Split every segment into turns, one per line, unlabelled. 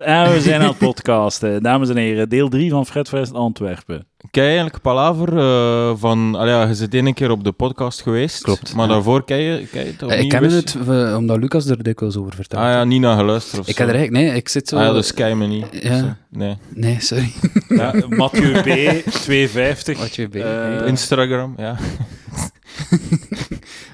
En we zijn aan het podcasten. Dames en heren, deel 3 van Fredfest Antwerpen.
Kei eigenlijk palaver eh, van... Allee, ja, je zit één keer op de podcast geweest.
Klopt,
Maar
ja.
daarvoor kei je... Kei je het
Ik
opnieuw
ken
eens?
het eh, omdat Lucas er dikwijls over vertelt.
Ah ja, niet naar geluisterd of
ik
zo.
heb er eigenlijk... Nee, ik zit zo...
Ah ja, dus kei me niet.
Ja.
Zo, Nee.
Nee, sorry.
Ja, Mathieu B, 250.
Wat je bent.
Eh,
Instagram, ja.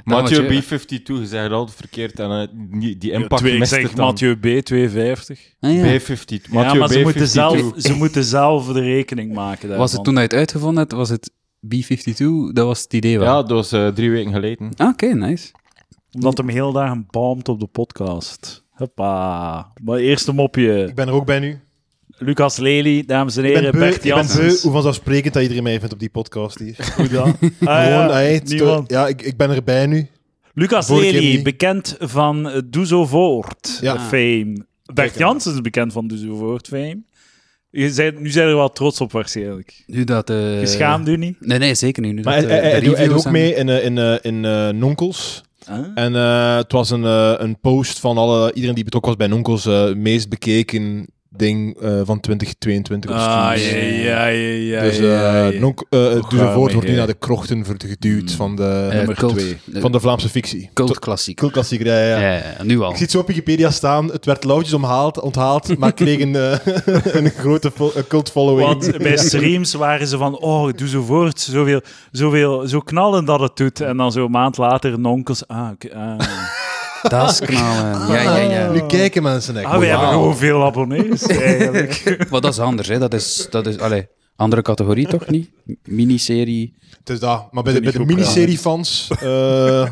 Mathieu
Mathieu.
B52, je zegt het altijd verkeerd en eh, die, die
ja,
impact
twee- ik
mist
zeg
het dan.
Mathieu B, 250.
Ah,
B52.
ja.
Mathieu
ja, maar ze
B52.
moeten, zelf, ze moeten zelf de rekening maken daarvan.
Was het toen dat je het uitgevonden hebt, was het B-52? Dat was het idee wel.
Ja, dat was eh, drie weken geleden.
Ah, Oké, nice.
Omdat hem heel dagen baamt op de podcast. Hoppa. Maar eerste mopje.
Ik ben er ook bij nu.
Lucas Lely, dames en
Ik ben
heren,
beu,
Bert
ik ben beu
Janssens.
hoe vanzelfsprekend dat iedereen mij vindt op die podcast hier.
Hoe dan? Ah, ja,
Gewoon, hey, het is
niemand.
toch- ja, ik, ik ben erbij nu.
Lucas
Vorige keer
Lely,
niet.
bekend van eh, Doe Zo Voort
Ja.
eh, fame. Bert
Zeker.
Janssens is bekend van Doe Zo Voort fame. Je bent, nu zijn we er wel trots op waarschijnlijk.
Nu dat... eh,
Je schaamt u niet?
Nee, nee, zeker niet. Nu
Maar
dat,
hij,
eh,
hij,
de
hij doet- hij
reviews
doet ook
en-
mee in, eh, in, eh, in eh, Nonkels.
Ah.
En eh, het was een, eh, een post van alle, iedereen die betrokken was bij Nonkels, eh meest bekeken ding eh, van 2022. op
Ah,
streams.
ja, ja, ja, ja.
Dus
ja,
eh
ja.
Nonk, eh, het Doe Zo
ruim,
Voort wordt nu
ja. Mm.
naar de krochten ver- geduwd van de,
eh,
nummer
cult,
twee.
de
Van de Vlaamse fictie.
Cult klassiek.
Cult klassieker, ja, ja, ja.
Ja, ja, ja, nu al.
Ik zie het zo op Wikipedia staan. Het werd loutjes omhaald, onthaald, maar kreeg een, eh, een grote fo- een cult following.
Want bij streams waren ze van, oh, doe zo voort, zoveel, zoveel, zo knallen dat het doet. En dan zo een maand later, nonkels, ah, oké, ah.
Dat is knallen. Ja, ja, ja.
Nu kijken mensen echt.
Ah, we
Wauw.
hebben gewoon veel abonnees, eigenlijk.
Maar dat is anders, hè. Dat is... Dat is allee, andere categorie, toch niet? Miniserie.
Het is Dus dat. Maar bij de, bij de
niet goed
miniserie-fans, eh,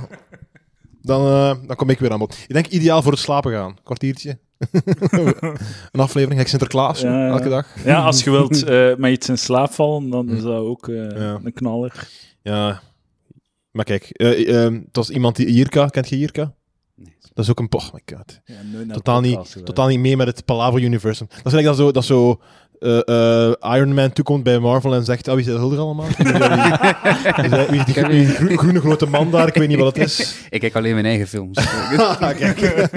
dan, eh, dan kom ik weer aan bod. Ik denk ideaal voor het slapen gaan. Kwartiertje. een aflevering, Hek Sinterklaas,
Ja, ja.
elke dag.
Ja, als je wilt eh, met iets in slaap vallen, dan is dat ook eh,
Hm. Ja.
een knaller.
Ja. Maar kijk, eh, eh, het was iemand die... Jirka, kent je Jirka?
Nee.
Dat is ook een... Oh my god.
Ja, nooit naar
Totaal
de
niet,
podcast geweest.
totaal niet mee met het Palaver Universum. Dat is eigenlijk dat zo, dat zo eh, eh, Iron Man toekomt bij Marvel en zegt: Oh, wie zijn er allemaal? Wie is dat? Wie is dat? Wie is die, gro- die gro- groene grote man daar? Ik weet niet wat het is.
Ik kijk alleen mijn eigen films. Eh,
Ah, kijk.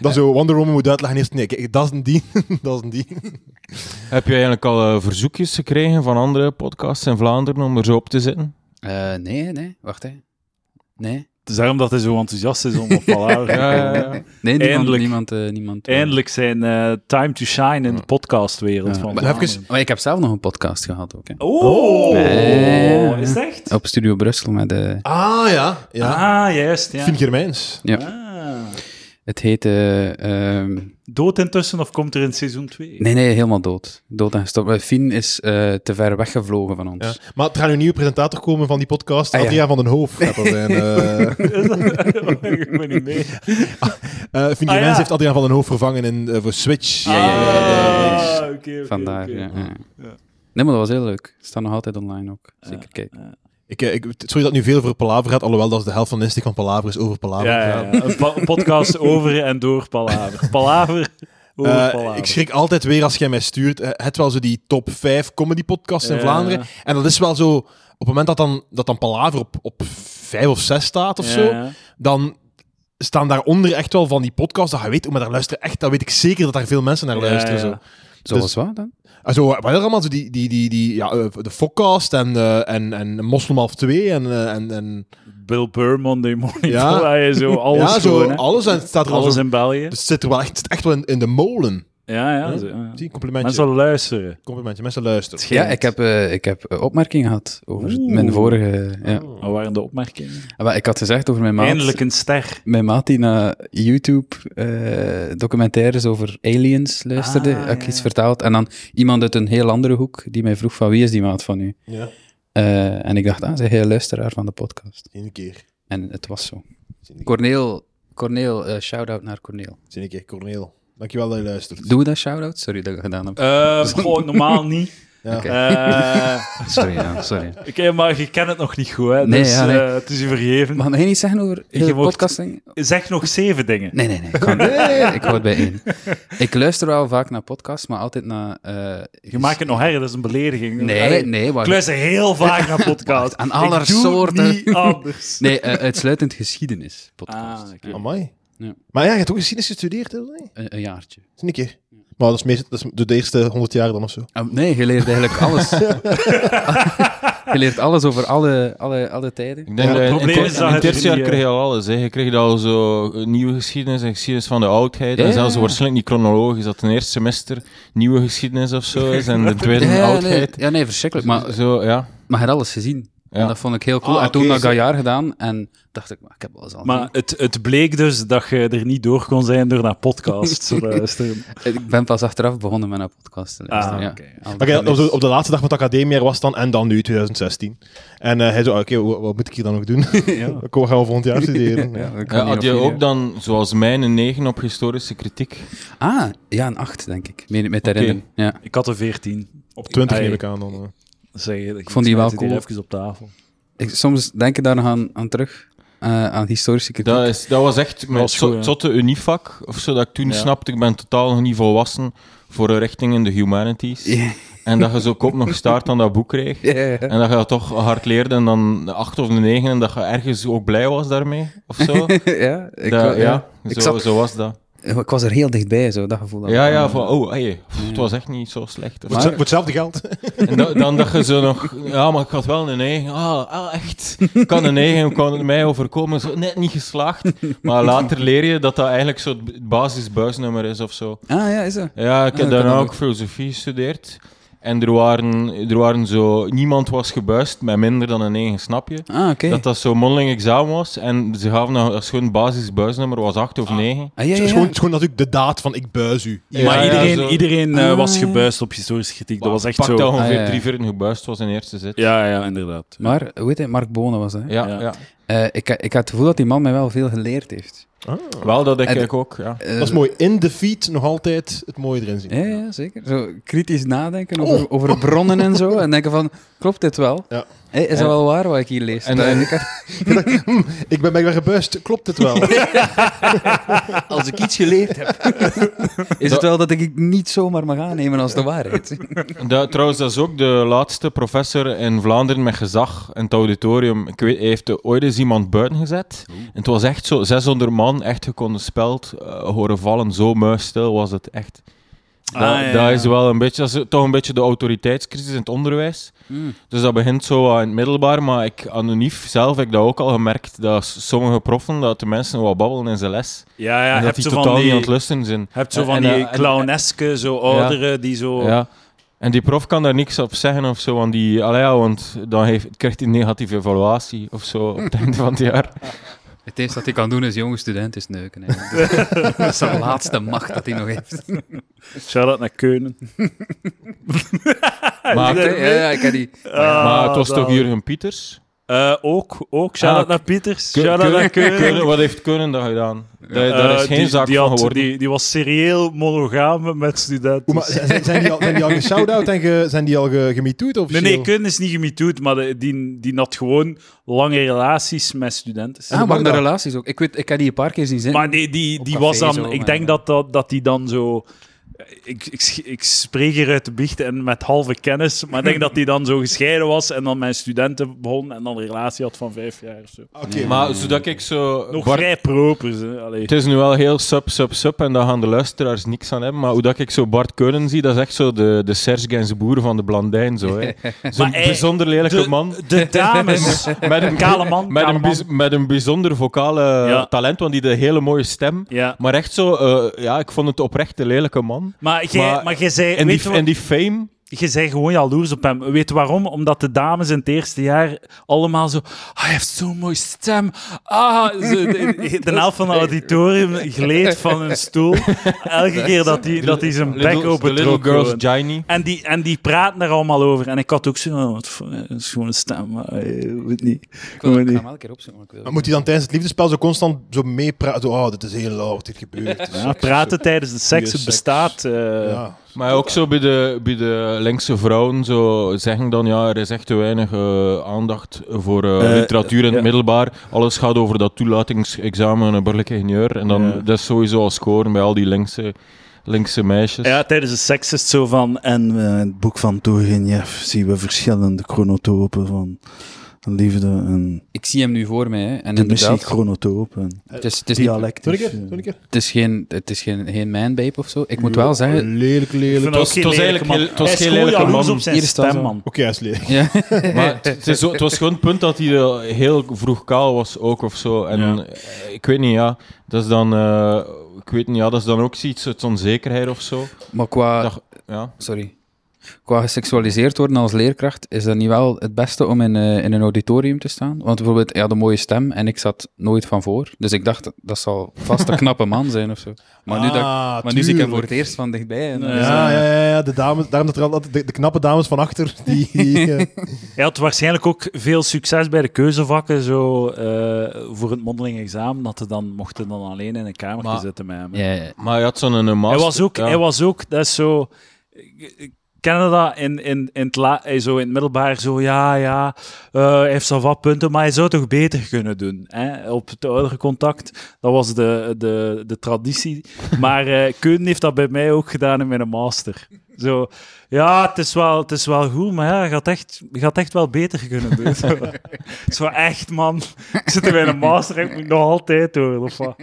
dan zo Wonder Woman moet uitleggen eerst: Nee, kijk, dat is een die, dat is een die.
Heb je eigenlijk al eh, verzoekjes gekregen van andere podcasts in Vlaanderen om er zo op te zitten?
Eh, nee, nee. Wacht, hè. Nee.
Het is daarom dat hij zo enthousiast is om op Palaver te
Ja, ja,
komen.
ja.
Nee, niemand.
Eindelijk.
niemand, eh, niemand eh.
Eindelijk zijn eh, time to shine in de podcastwereld
Ja.
van
Maar
Vlaanderen.
even-
Maar ik heb zelf nog een podcast gehad ook, hè.
Oh,
Nee.
is het echt?
Op Studio Brussel met... eh
Ah ja, ja.
Ah, juist, ja.
Fien Germijns.
ja.
Ah.
Het heette... eh, ehm,
Dood intussen of komt er in seizoen 2?
nee, nee, helemaal dood. Dood en gestopt. Eh, Fien is eh, te ver weggevlogen van ons.
Ja. Maar er gaat nu een nieuwe presentator komen van die podcast,
Ah, ja.
Adriaan van den Hoof. Gaat dat zijn. eh.
ik ben niet mee.
Eh, Fien
Ah,
Germijns
ja.
heeft Adriaan van den Hoof vervangen in, eh, voor Switch.
Ja, ja, ja, ja, ja.
Ah, oké, oké,
Vandaar,
oké.
ja, ja.
Ja.
Nee, maar dat was heel leuk. Het staat nog altijd online ook. Zeker kijken.
Ik, eh, ik, het- sorry dat nu veel over Palaver gaat, alhoewel dat is de helft van de insteek van Palaver is over Palaver.
Ja, ja, ja. Een pa- podcast over en door Palaver. Palaver over
Eh,
Palaver.
ik schrik altijd weer als jij mij stuurt. eh, Het wel zo die top 5 comedy podcasts in
Ja.
Vlaanderen. En dat is wel zo. Op het moment dat dan, dat dan Palaver op, op 5 of 6 staat of
Ja,
zo,
ja.
dan staan daaronder echt wel van die podcasts. Dat je weet, oh, maar daar luisteren echt. Dat weet ik zeker dat daar veel mensen naar
Ja,
luisteren.
ja.
Zo.
Zoals wat dan?
En zo, wat er allemaal zo die, die, die, die ja, eh, de Fokcast en, eh en, en Moslem half 2 en, eh, en, en
Bill Burr, Monday Morning
Ja.
Fly, zo alles
ja, zo,
gewoon, hè.
alles. En het staat er
Alles
al zo,
in België.
dus het zit er wel echt, het zit echt wel in, in de molen.
Ja, ja.
Ja.
zo, ja.
Zie, complimentje.
Mensen luisteren.
Complimentje, mensen luisteren.
Ja, ik heb, eh, ik heb eh, opmerkingen gehad over
Oeh.
mijn vorige... Ja.
Oh.
Wat waren de opmerkingen?
Ah, wel, Ik had gezegd over mijn maat...
Eindelijk een ster.
Mijn maat die naar YouTube eh, documentaires over aliens luisterde,
Ah,
had ik
ja,
iets
ja.
vertaald. En dan iemand uit een heel andere hoek die mij vroeg van wie is die maat van u?
Ja,
Eh, en ik dacht, ah, zij is een luisteraar van de podcast.
één keer.
En het was zo.
Zie ik.
Corneel, Corneel eh, shout-out naar Corneel.
Zie ik, Corneel. Dankjewel dat je luistert.
Doen we dat shout-out? Sorry dat ik dat gedaan heb.
Eh,
goh, Dus normaal niet.
Ja.
Oké.
Eh,
Sorry, ja, sorry.
oké, maar je kent het nog niet goed, hè?
Nee,
dus
ja, nee.
eh, het is je vergeven.
Mag jij niet zeggen over heel
Je
de
mocht-
podcasting?
Zeg nog zeven dingen.
Nee, nee, nee. Ik hou, ik hou het bij één. Ik luister wel vaak naar podcasts, maar altijd naar... eh,
Je maakt het nog herder, dat is een belediging.
Nee,
Allee,
nee,
Ik
wacht.
luister heel vaak naar podcasts.
Aan alle
Ik doe
soorten.
niet anders.
Nee, eh, uitsluitend geschiedenis podcast.
Ah, oké.
Amai.
Ja.
Maar ja, je hebt ook geschiedenis gestudeerd, hè?
Een, een jaartje.
Zie ik. Maar dat is, meest, dat is de eerste 100 jaar dan of zo.
Ah, nee, je leert eigenlijk alles. je leert alles over alle, alle, alle tijden.
Ik denk
Ja,
dat
het
in,
probleem
ter-
is dat
in
het
het tertiair
niet, eh,
kreeg je al alles. Hè. Je kreeg al zo eh, nieuwe geschiedenis en geschiedenis van de oudheid.
Ja,
En
ja,
zelfs
ja.
waarschijnlijk niet chronologisch, dat een eerste semester nieuwe geschiedenis of zo is en de tweede
nee,
oudheid.
ja, nee, verschrikkelijk. Maar,
zo, ja.
maar je had alles gezien.
Ja.
En dat vond ik heel cool.
Ah,
en toen
oké,
had ik
zo-
dat jaar gedaan en dacht ik, maar ik heb alles al.
Maar het, het bleek dus dat je er niet door kon zijn door naar podcasts te luisteren.
Ik ben pas achteraf begonnen met een podcast te luisteren.
Ah,
ja.
oké.
Al
Maar kijk,
die
op, de, op de laatste dag van het academiejaar was het dan en dan nu, 2016. En eh, hij zo, ah, oké, wa- wat, moet ik hier dan ook doen? Ik Kom, gaan we volgend jaar studeren.
Ja,
ja.
dat kan
Ja,
niet
had je
op
ook
video.
dan, zoals mijn, een 9 op historische kritiek?
Ah, ja, een acht, denk ik. Meen ik me te
Oké.
herinneren. Ja.
Ik had er veertien.
Op 20
Ai.
neem ik aan dan. eh.
Zeg, ik
vond die wel
smijt het
cool.
Hier even op tafel.
Ik, soms denk ik daar nog aan, aan terug, eh, aan historische kritiek.
Dat, is, dat was echt mijn
was goed,
zo-
ja.
zotte univak of zo, dat ik toen
Ja.
snapte. Ik ben totaal nog niet volwassen voor een richting in de humanities.
Ja.
En dat je zo kop nog staart aan dat boek kreeg.
Ja, ja, ja.
En dat je dat toch hard leerde en dan de acht of de negen en dat je ergens ook blij was daarmee, of zo.
ja, ik,
Dat-
wel- ja.
ja, Zo,
Ik zat-
zo was dat.
Eh, ik was er heel dichtbij, zo, dat gevoel. had ik
Ja,
wel.
ja, van, oh, hey, pff, het was echt niet zo slecht. Of
Voor,
zo.
Maar-
het- voor hetzelfde geld.
En da- dan dacht je zo nog, ja, maar ik had wel een negen. Ah, ah echt? Ik had een negen, hoe kan het mij overkomen? Zo, net niet geslaagd. Maar later leer je dat dat eigenlijk zo het b- basisbuisnummer is of zo.
Ah, ja, is dat?
Ja, ik
Ah,
heb
dat kan
daarna
ook.
ook filosofie gestudeerd. En er waren, er waren zo... Niemand was gebuist met minder dan een negen, snap je?
Ah, oké.
Dat dat zo'n mondeling examen was. En ze gaven dan als gewoon basisbuisnummer was 8 of 9.
Ah, ja,
Het
ja, ja.
is gewoon, het is gewoon natuurlijk de daad van ik buis u.
Ja,
maar
ja,
iedereen,
zo.
iedereen eh,
Ah,
was
ja.
gebuist op historische kritiek. Dat was echt
Pak
zo.
dat ongeveer
Ah, ja, ja.
drie vierde gebuist was in eerste zit.
Ja, ja, inderdaad.
Maar, hoe heet hij? Mark Bonen was dat, hè?
Ja,
Ja.
ja.
Eh, ik, ik had het gevoel dat die man mij wel veel geleerd heeft.
Wel, dat denk
En de-
ik ook, ja.
Eh,
Dat is mooi. In de feed nog altijd het mooie erin zien.
Ja, ja, zeker. Zo kritisch nadenken over, over bronnen en zo. En denken van, klopt dit wel?
Ja.
Hé, is
En-
dat wel waar wat ik hier lees?
en-
Dat-
en-
ik had-
Ik ben blijkbaar gebuist. Klopt het wel?
als ik iets geleerd heb, is het wel dat ik het niet zomaar mag aannemen als de waarheid.
Dat, trouwens, dat is ook de laatste professor in Vlaanderen met gezag in het auditorium. Ik weet, hij heeft er ooit eens iemand buiten gezet. En het was echt zo, 600 man, echt gekondenspeld, eh, horen vallen, zo muisstil was het echt. Dat,
Ah, ja, ja.
dat is wel een beetje, dat is toch een beetje de autoriteitscrisis in het onderwijs.
Hmm.
Dus dat begint zo wat in het middelbaar, maar ik, anonief zelf heb ik dat ook al gemerkt, dat s- sommige proffen, dat de mensen wat babbelen in zijn les.
Ja, ja,
en dat
hebt
die
zo
totaal
van
niet aan
die,
het lusten zijn.
hebt zo van
En, eh,
die
en-
clowneske, zo ouderen, die zo...
Ja. En die prof kan daar niks op zeggen of zo, want, die, allee, ja, want dan heeft, krijgt hij een negatieve evaluatie of zo op het einde van het jaar.
Het eerste dat hij kan doen is jonge studenten neuken. dat is de laatste macht dat hij nog heeft.
Shout-out naar Keunen.
Maar,
ja, ja, ik heb die...
maar het was
Ah,
toch
dat-
Jurgen Pieters?
Eh, ook, ook. Shout-out
Ah,
naar Pieters.
Ke-
Shout-out naar
Keunen-
Keunen.
Keunen, wat heeft Kunnen dat gedaan? Daar,
Eh,
daar is geen
die,
zaak
die
van
had-
geworden.
Die, die was serieel monogaam met studenten.
Oeh, maar zijn, zijn, die al, zijn die al geshout-out en ge- zijn die al ge- gemetoed?
nee,
officieel?
nee, Keunen is niet gemetoed, maar de- die, die had gewoon lange relaties met studenten.
Ah, maar de relaties ook. Ik, weet, ik heb die een paar keer zien zitten.
Maar die, die, die
café
was dan...
zo,
ik
maar
denk
ja.
dat, dat, dat die dan zo... Ik, ik, sch- ik spreek hier uit de biecht en met halve kennis, maar ik denk dat die dan zo gescheiden was en dan mijn studenten begon en dan een relatie had van vijf jaar of zo.
Oké,
Maar zodat ik zo...
Nog
Ah, Bart-
vrij proper. Ze. Allee.
het is nu wel heel sub, sub, sub en daar gaan de luisteraars niks aan hebben, maar hoe dat ik zo Bart Kunnen zie, dat is echt zo de, de Serge Gainsbourg van de Blandijn. zo, hè. Zo'n
Maar hij-
bijzonder lelijke
de,
man.
De dames.
Met een
Kale man.
Met
kale man.
een, bijz- met een bijzonder vocale
Ja.
talent, want die had een hele mooie stem.
Ja,
Maar echt zo, eh, ja, ik vond het oprecht een lelijke man.
maar jij
Maar-
maar jij zei,
En
Eh, weet
die,
je,
en
wat-
die fame.
jij zei gewoon jaloers op hem. Weet je waarom? Omdat de dames in het eerste jaar allemaal zo... "Ah, Hij heeft zo'n mooie stem. Ah, ze- de, de helft van het auditorium gleed van een stoel. Elke keer dat hij dat hij zijn bek
Little,
open
the little
trok.
girls
gewoon.
Giny.
En die, en die praten daar allemaal over. En ik had ook zo... Oh, wat voor een schone stem. Maar, eh, weet niet.
Ik wil ik
Gewoon
ga
niet.
hem elke keer opzoeken. Maar ik wil
Maar moet hij dan tijdens het liefdespel zo constant zo meepraten? Zo, Oh, dit is heel lauw, dit gebeurt. Het is
Ja, praten tijdens de seks,
Goeie
het
seks.
bestaat. eh,
Ja.
Maar ook zo bij de, bij de linkse vrouwen zo zeggen dan, ja, er is echt te weinig eh, aandacht voor eh,
Eh,
literatuur in het
ja.
middelbaar. Alles gaat over dat toelatingsexamen en een burgerlijk ingenieur. En dan,
Ja.
dat is sowieso al scoren bij al die linkse, linkse meisjes.
Ja, tijdens de seks is het zo van. En eh, het boek van Turgenev zien we verschillende chronotopen van liefde en
Ik zie hem nu voor mij, hè. En
de missie
inderdaad,
chronotoop en
het is, het is, niet-
Doe een
dialectisch.
keer,
eh.
doe een keer.
het is geen, het is geen, geen mijnbeep of zo. Ik moet wel zeggen...
Ik
Lelijk, lelijk.
vind
Oké,
was-
dat ook geen
het was
lelijke
eigenlijk
man.
heel- het was
Hij is
geen
gewoon
lelijke
jaloers
man.
op zijn
Hier staat
stem,
zo.
man.
hij is lelijk.
Ja.
Maar het, het is zo- het was gewoon het punt dat hij er heel vroeg kaal was ook of zo. En
Ja.
eh, ik weet niet, ja, dat is dan, eh, ik weet niet, ja, dat is dan ook iets uit onzekerheid of zo.
Maar qua...
Dag. Ja.
Sorry. Qua geseksualiseerd worden als leerkracht, is dat niet wel het beste om in, eh, in een auditorium te staan? Want bijvoorbeeld, hij had een mooie stem en ik zat nooit van voor. Dus ik dacht, dat zal vast een knappe man zijn of zo. Maar, nu, dat, ik-
Ah,
maar nu zie ik hem voor
tuurlijk.
het eerst van dichtbij. En,
Ja.
dus, eh,
Ja, ja, ja, ja, de, dames, daarom dat er altijd de, de knappe dames van achter. Die, eh,
Hij had waarschijnlijk ook veel succes bij de keuzevakken zo, eh, voor het mondeling examen, dat hij dan mochten dan alleen in een kamer
Maar-
zitten met hem. hè.
ja, ja.
Maar hij had zo'n een master.
Hij was ook,
ja.
hij was ook, dat is zo. Canada in, in, in, het la, eh, zo in het middelbaar, zo ja, ja, eh, hij heeft zo wat punten, maar hij zou toch beter kunnen doen. Hè? Op het oudere contact, dat was de, de, de traditie. Maar eh Keunen heeft dat bij mij ook gedaan in mijn master. Zo, ja, het is wel, het is wel goed, maar ja, je gaat echt, je gaat echt wel beter kunnen doen. Zo, zo echt, man, ik zit in mijn master en ik moet nog altijd door. Of wat?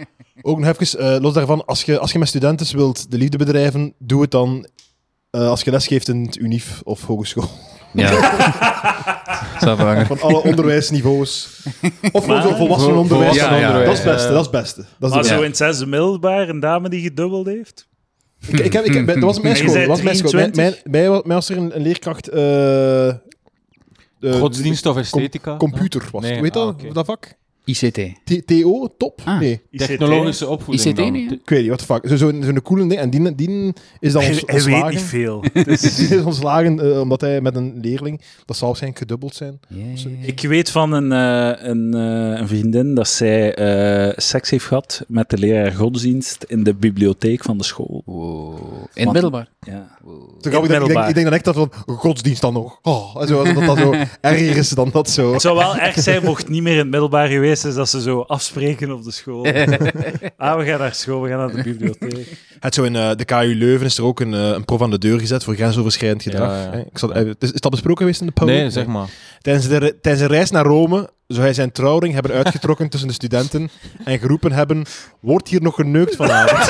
ook nog even, eh, los daarvan, als je, als je met studenten wilt de liefde bedrijven, doe het dan eh, als je les geeft in het UNIF of hogeschool.
ja. Dat is wel belangrijk.
Van alle onderwijsniveaus. Of
Maar-
gewoon zo volwassen onderwijs.
Volwassen
Ja, ja,
onderwijs,
Dat is het beste,
eh.
dat is het beste. Dat is
Maar
de
zo
Ja.
in het zesde middelbaar, een dame die gedubbeld heeft.
Ik, ik heb, ik, heb- dat
Hmm.
was mijn
Je
school. Dat
zei
was mijn school. Mijn,
23.
mijn, mij wa- mij was er een, een leerkracht. eh, eh,
Godsdienst of esthetica?
Computer was.
Nee,
het. Weet
ah,
dat?
oké.
Dat vak?
ICT.
T- TO, top?
Ah.
Nee.
ICT.
Technologische opvoeding
ICT
dan.
niet, hè?
Ik weet niet, wat de fuck. Zo- Zo'n zo'n coole ding. En die, die is dan
Hij,
ons,
hij weet
ontslagen.
niet veel.
Die is ontslagen eh, omdat hij met een leerling, dat zal zijn gedubbeld zijn.
Ik weet van een, eh, een, eh, een vriendin dat zij eh, seks heeft gehad met de leraar godsdienst in de bibliotheek van de school.
Wow. In het middelbaar.
Ja.
Toen ik, denk, ik, denk, ik denk dan echt dat van godsdienst dan nog. Oh, en zo, dat dat zo erger is dan dat zo.
Het zou wel erg zijn mocht het niet meer in het middelbaar geweest is dat ze zo afspreken op de school. ah, we gaan naar school, we gaan naar de bibliotheek.
Het zo in eh, de KU Leuven is er ook een, eh, een prof aan de deur gezet voor grensoverschrijdend gedrag.
Ja, ja.
hè. Ik zat, eh, is, is dat besproken geweest in de Pauw?
Nee, zeg maar.
Tijdens, de, re- tijdens een reis naar Rome zou hij zijn trouwring hebben uitgetrokken tussen de studenten en geroepen hebben, wordt hier nog geneukt vanavond?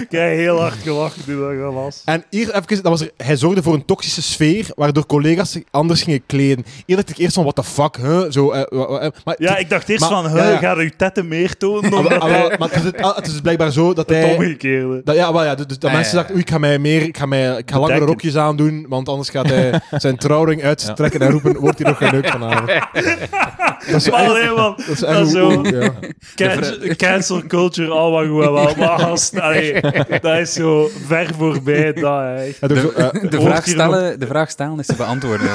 Ik heb heel hard gelachen toen dat er was.
en hier even, dat was er, hij zorgde voor een toxische sfeer, waardoor collega's zich anders gingen kleden. Hier dacht ik eerst van, what the fuck, hè? Zo, eh, wa- wa- eh, maar
Ja, ik dacht eerst
Maar-
van, huh,
ja, ja.
ga je tetten meer tonen
Ah,
dan
wel, ah, wel, maar het, is, ah, het is blijkbaar zo dat
het
hij...
omgekeerde.
Dat, ja, wel, ja, dus, dus dat
Ah,
mensen
ja.
dachten, oei, ik ga, mij meer, ik ga, mij, ik ga langere
Bedekken.
rokjes aandoen, want anders gaat hij zijn trouwring uitstrekken en roepen, wordt hier nog geneukt vanavond. Dat is
Maar
echt-
alleen, man,
dat is
dat
echt
is
hoe-
zo-
hoe- ja.
Cancel, cancel culture, allemaal goed en wel. Maar als, allee, dat is zo ver voorbij. Dat, hè.
En ook zo, eh,
De
Hoort
vraag,
hier
stellen, de vraag stellen is te beantwoorden.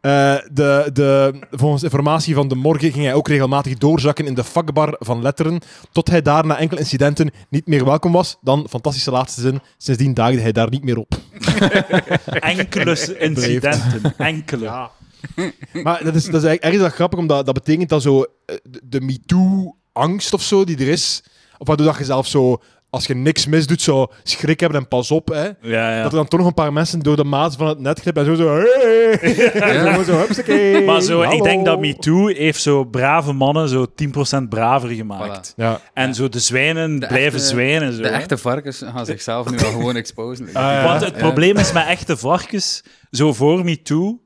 Eh, de, de, volgens informatie van de morgen ging hij ook regelmatig doorzakken in de vakbar van letteren, tot hij daar na enkele incidenten niet meer welkom was. Dan, fantastische laatste zin, sindsdien daagde hij daar niet meer op.
Enkele incidenten. Enkele.
Maar dat is, dat is eigenlijk ergens wel grappig, omdat dat betekent dat zo eh, de, de MeToo-angst of zo die er is, of waardoor dat je zelf zo, als je niks misdoet, zo schrik hebben en pas op, hè.
Ja, ja.
Dat er dan toch nog een paar mensen door de maat van het net glippen en zo zo... Hey! En zo, zo hupsakee,
Maar zo, ik
hallo.
denk dat MeToo heeft zo brave mannen zo 10% braver gemaakt.
Ja.
En zo de zwijnen
De
blijven
echte-
zwijnen. Zo.
De echte varkens gaan zichzelf nu al gewoon exposen.
Want het
Ja.
probleem is met echte varkens, zo voor MeToo,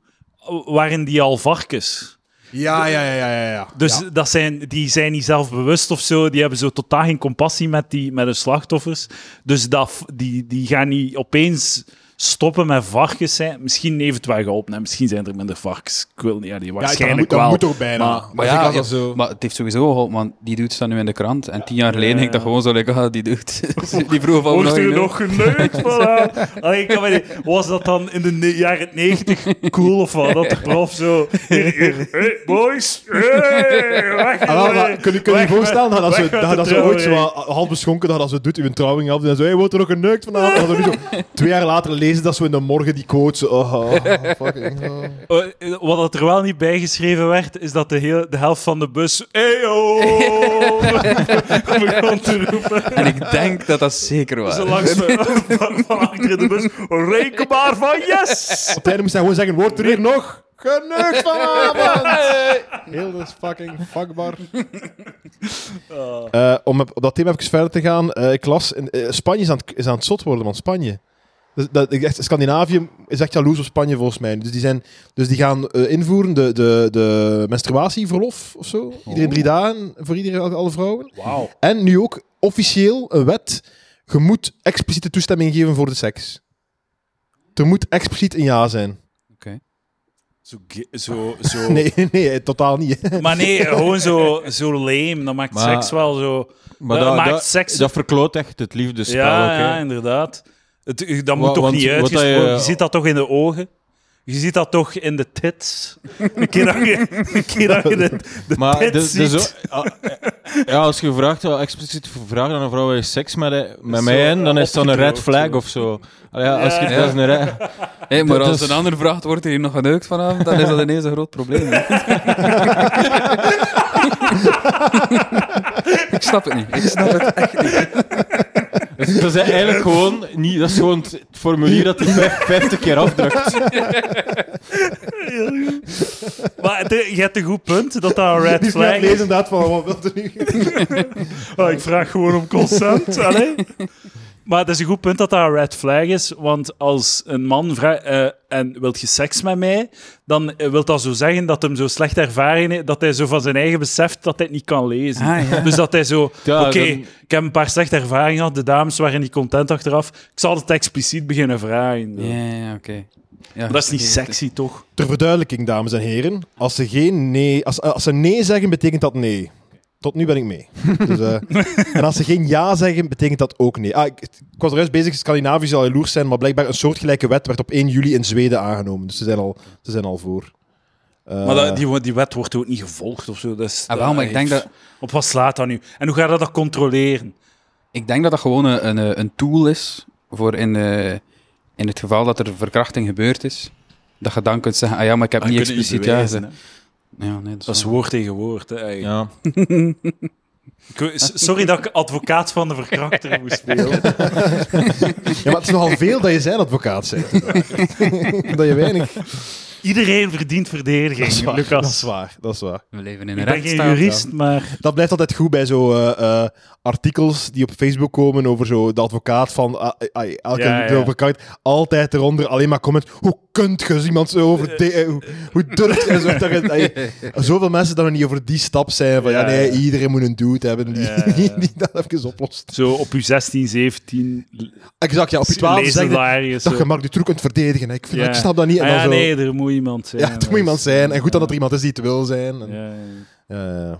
waren die al varkens.
Ja, ja, ja, ja, ja, ja.
Dus
Ja.
dat zijn, die zijn niet zelfbewust of zo. Die hebben zo totaal geen compassie met, die, met hun slachtoffers. Dus dat, f- die, die gaan niet opeens stoppen met varkens zijn. Misschien heeft het wel geholpen. hè. Misschien zijn er minder varkens. Ik wil niet, ja, die waarschijnlijk
dat
wel.
moet, dat moet toch bijna.
Maar-
Maar,
zeker
ja,
als dat
ja,
zo...
maar het heeft sowieso geholpen, want die doet staat nu in de krant. En tien jaar geleden ging ik dat gewoon zo lekker, ah, die doet. die vroeg van
Wordt
je
er
nu?
nog geneukt? Voilà. Allee, ik kan me niet- was dat dan in de ne- jaren 90 cool of wat? Dat de prof zo... hier, hier, hey, boys! Hey, weg
Ah, wel, maar
met-
kun je kun je je
weg met-
voorstellen dat dat,
weg
ze,
met
dat,
de
dat ze ooit zo
trouwring.
wat half beschonken dat als ze doet, uw trouwing af en zo, hey, wordt er nog geneukt vanavond? En dan nu zo, twee jaar later lezen dat zo in de morgen die quote. Zo, oh, oh, fucking, oh.
Oh, eh, Wat dat er wel niet bijgeschreven werd, is dat de, heel, de helft van de bus. Eyo! begon te roepen.
En ik denk dat dat zeker was.
Zo langs me, van, van achter de bus. Reken maar van yes!
Op het einde moest hij gewoon zeggen: wordt er hier nog? Genoeg vanavond! Heel dus fucking fuckbar. Eh, om op op dat thema even verder te gaan. eh, ik las, in, eh, Spanje is aan, het, is aan het zot worden, man. Spanje. Dus dat, ik echt, Scandinavië is echt jaloers op Spanje, volgens mij. Dus die, zijn, dus die gaan eh, invoeren de, de, de menstruatieverlof of zo. Iedereen drie dagen voor iedereen, alle vrouwen.
Wauw.
En nu ook officieel een wet. Je moet expliciete toestemming geven voor de seks. Er moet expliciet een ja zijn.
Zo, ge- zo, zo.
Nee, nee, totaal niet.
Maar nee, eh, gewoon zo, zo lame. Dat maakt
Maar-
seks wel zo.
Maar
Dat
dat,
maakt
dat,
seks-
dat verkloot echt het liefdespel.
Ja,
ook, hè.
ja, inderdaad. Het, eh, dat moet
Wa-
toch
want
niet
wat
uitgesproken
dat je-
Je ziet dat toch in de ogen? Je ziet dat toch in de tits? Een keer dat je, een keer dat je de, de
Maar
tits
dus,
ziet.
dus ook- ah, eh, ja, als je vraagt, ah, expliciet vraagt aan een vrouw waar je seks met, eh, met
Zo,
mij in, dan
eh,
is dat een red
opgeknoopt,
flag
zo.
of zo. Allee, ja, als je,
Ja.
dat is een red-
Hé, maar
Dat
als
is-
een ander vraagt, wordt er hier nog geneukt vanavond, dan is dat ineens een groot probleem. ik snap het niet. Ik snap het echt niet.
dat is eigenlijk gewoon niet, dat is gewoon het het formulier dat hij vijf- 50 keer afdrukt.
Maar het- eh, je hebt een goed punt dat dat een red
Die is nu aan
flag
het lezen
is.
inderdaad van wat wil er nu?
Ah, ik vraag gewoon om consent. Allee. Maar het is een goed punt dat dat een red flag is. Want als een man vraagt eh, en wilt je seks met mij, dan eh, wil dat zo zeggen dat hem zo slecht ervaring heeft, dat hij zo van zijn eigen beseft dat hij het niet kan lezen.
Ah, ja.
Dus dat hij zo,
Ja,
oké,
dan-
ik heb een paar slechte ervaringen gehad, de dames waren niet content achteraf, ik zal het expliciet beginnen vragen.
Ja, ja, ja, oké. Ja,
Maar dat is niet
oké.
sexy, toch?
Ter verduidelijking, dames en heren. Als ze, geen nee, als, als ze nee zeggen, betekent dat nee. Tot nu ben ik mee. Dus, eh, en als ze geen ja zeggen, betekent dat ook nee. Ah, ik, ik was er juist bezig, Scandinavië zal jaloers zijn, maar blijkbaar een soortgelijke wet werd op 1 juli in Zweden aangenomen. Dus ze zijn al, ze zijn al voor. Eh,
Maar dat- die, die wet wordt ook niet gevolgd of zo. Dat is,
Ah, wel, maar ik denk dat,
Op wat slaat dat nu? En hoe ga je dat controleren?
Ah,
ik denk dat dat gewoon een, een, eh, een tool is voor in, eh, in het geval dat er verkrachting gebeurd is. Dat je dan kunt zeggen, ah ja, maar ik heb
Ah,
niet
kunnen niet
expliciet ja
bewijzen,
gezegd. Ja, nee, dat is
Dat is
waar.
woord tegen woord. Hè, eigenlijk.
Ja.
Ik weet- s- sorry dat ik advocaat van de verkrachter moest spelen.
ja, maar het is nogal veel dat je zijn advocaat bent. dat je weinig...
Iedereen verdient
Dat is
verdediging,
waar,
Lucas.
dat is waar, dat is waar.
We leven in een
Ik ben geen
rechtsstaat.
jurist, maar...
Dat blijft altijd goed bij zo eh, eh, artikels die op Facebook komen over zo de advocaat van ah, ah, ah, elke
Ja, ja.
de advocaat. Altijd eronder alleen maar comment. Hoe kunt je zo iemand zo over... de- eh, hoe, hoe durft je zo... Dat je- eh, zoveel mensen dat er niet over die stap zijn van ja,
Ja,
nee,
ja.
iedereen moet een dude hebben die,
Ja, ja.
die, die dat even oplost.
Zo op je 16, 17...
Exact, ja. Op je twaalf
lezen
zeg je
hilarisch,
dat
zo.
je Mark Dutroux kunt verdedigen. hè. Ik, vind,
Ja.
ik snap dat niet. En
Ah
dan
ja,
zo,
nee, er moet iemand zijn.
ja, het moet iemand zijn. En goed dan dat er iemand is die het wil zijn. En,
Ja, ja,
eh,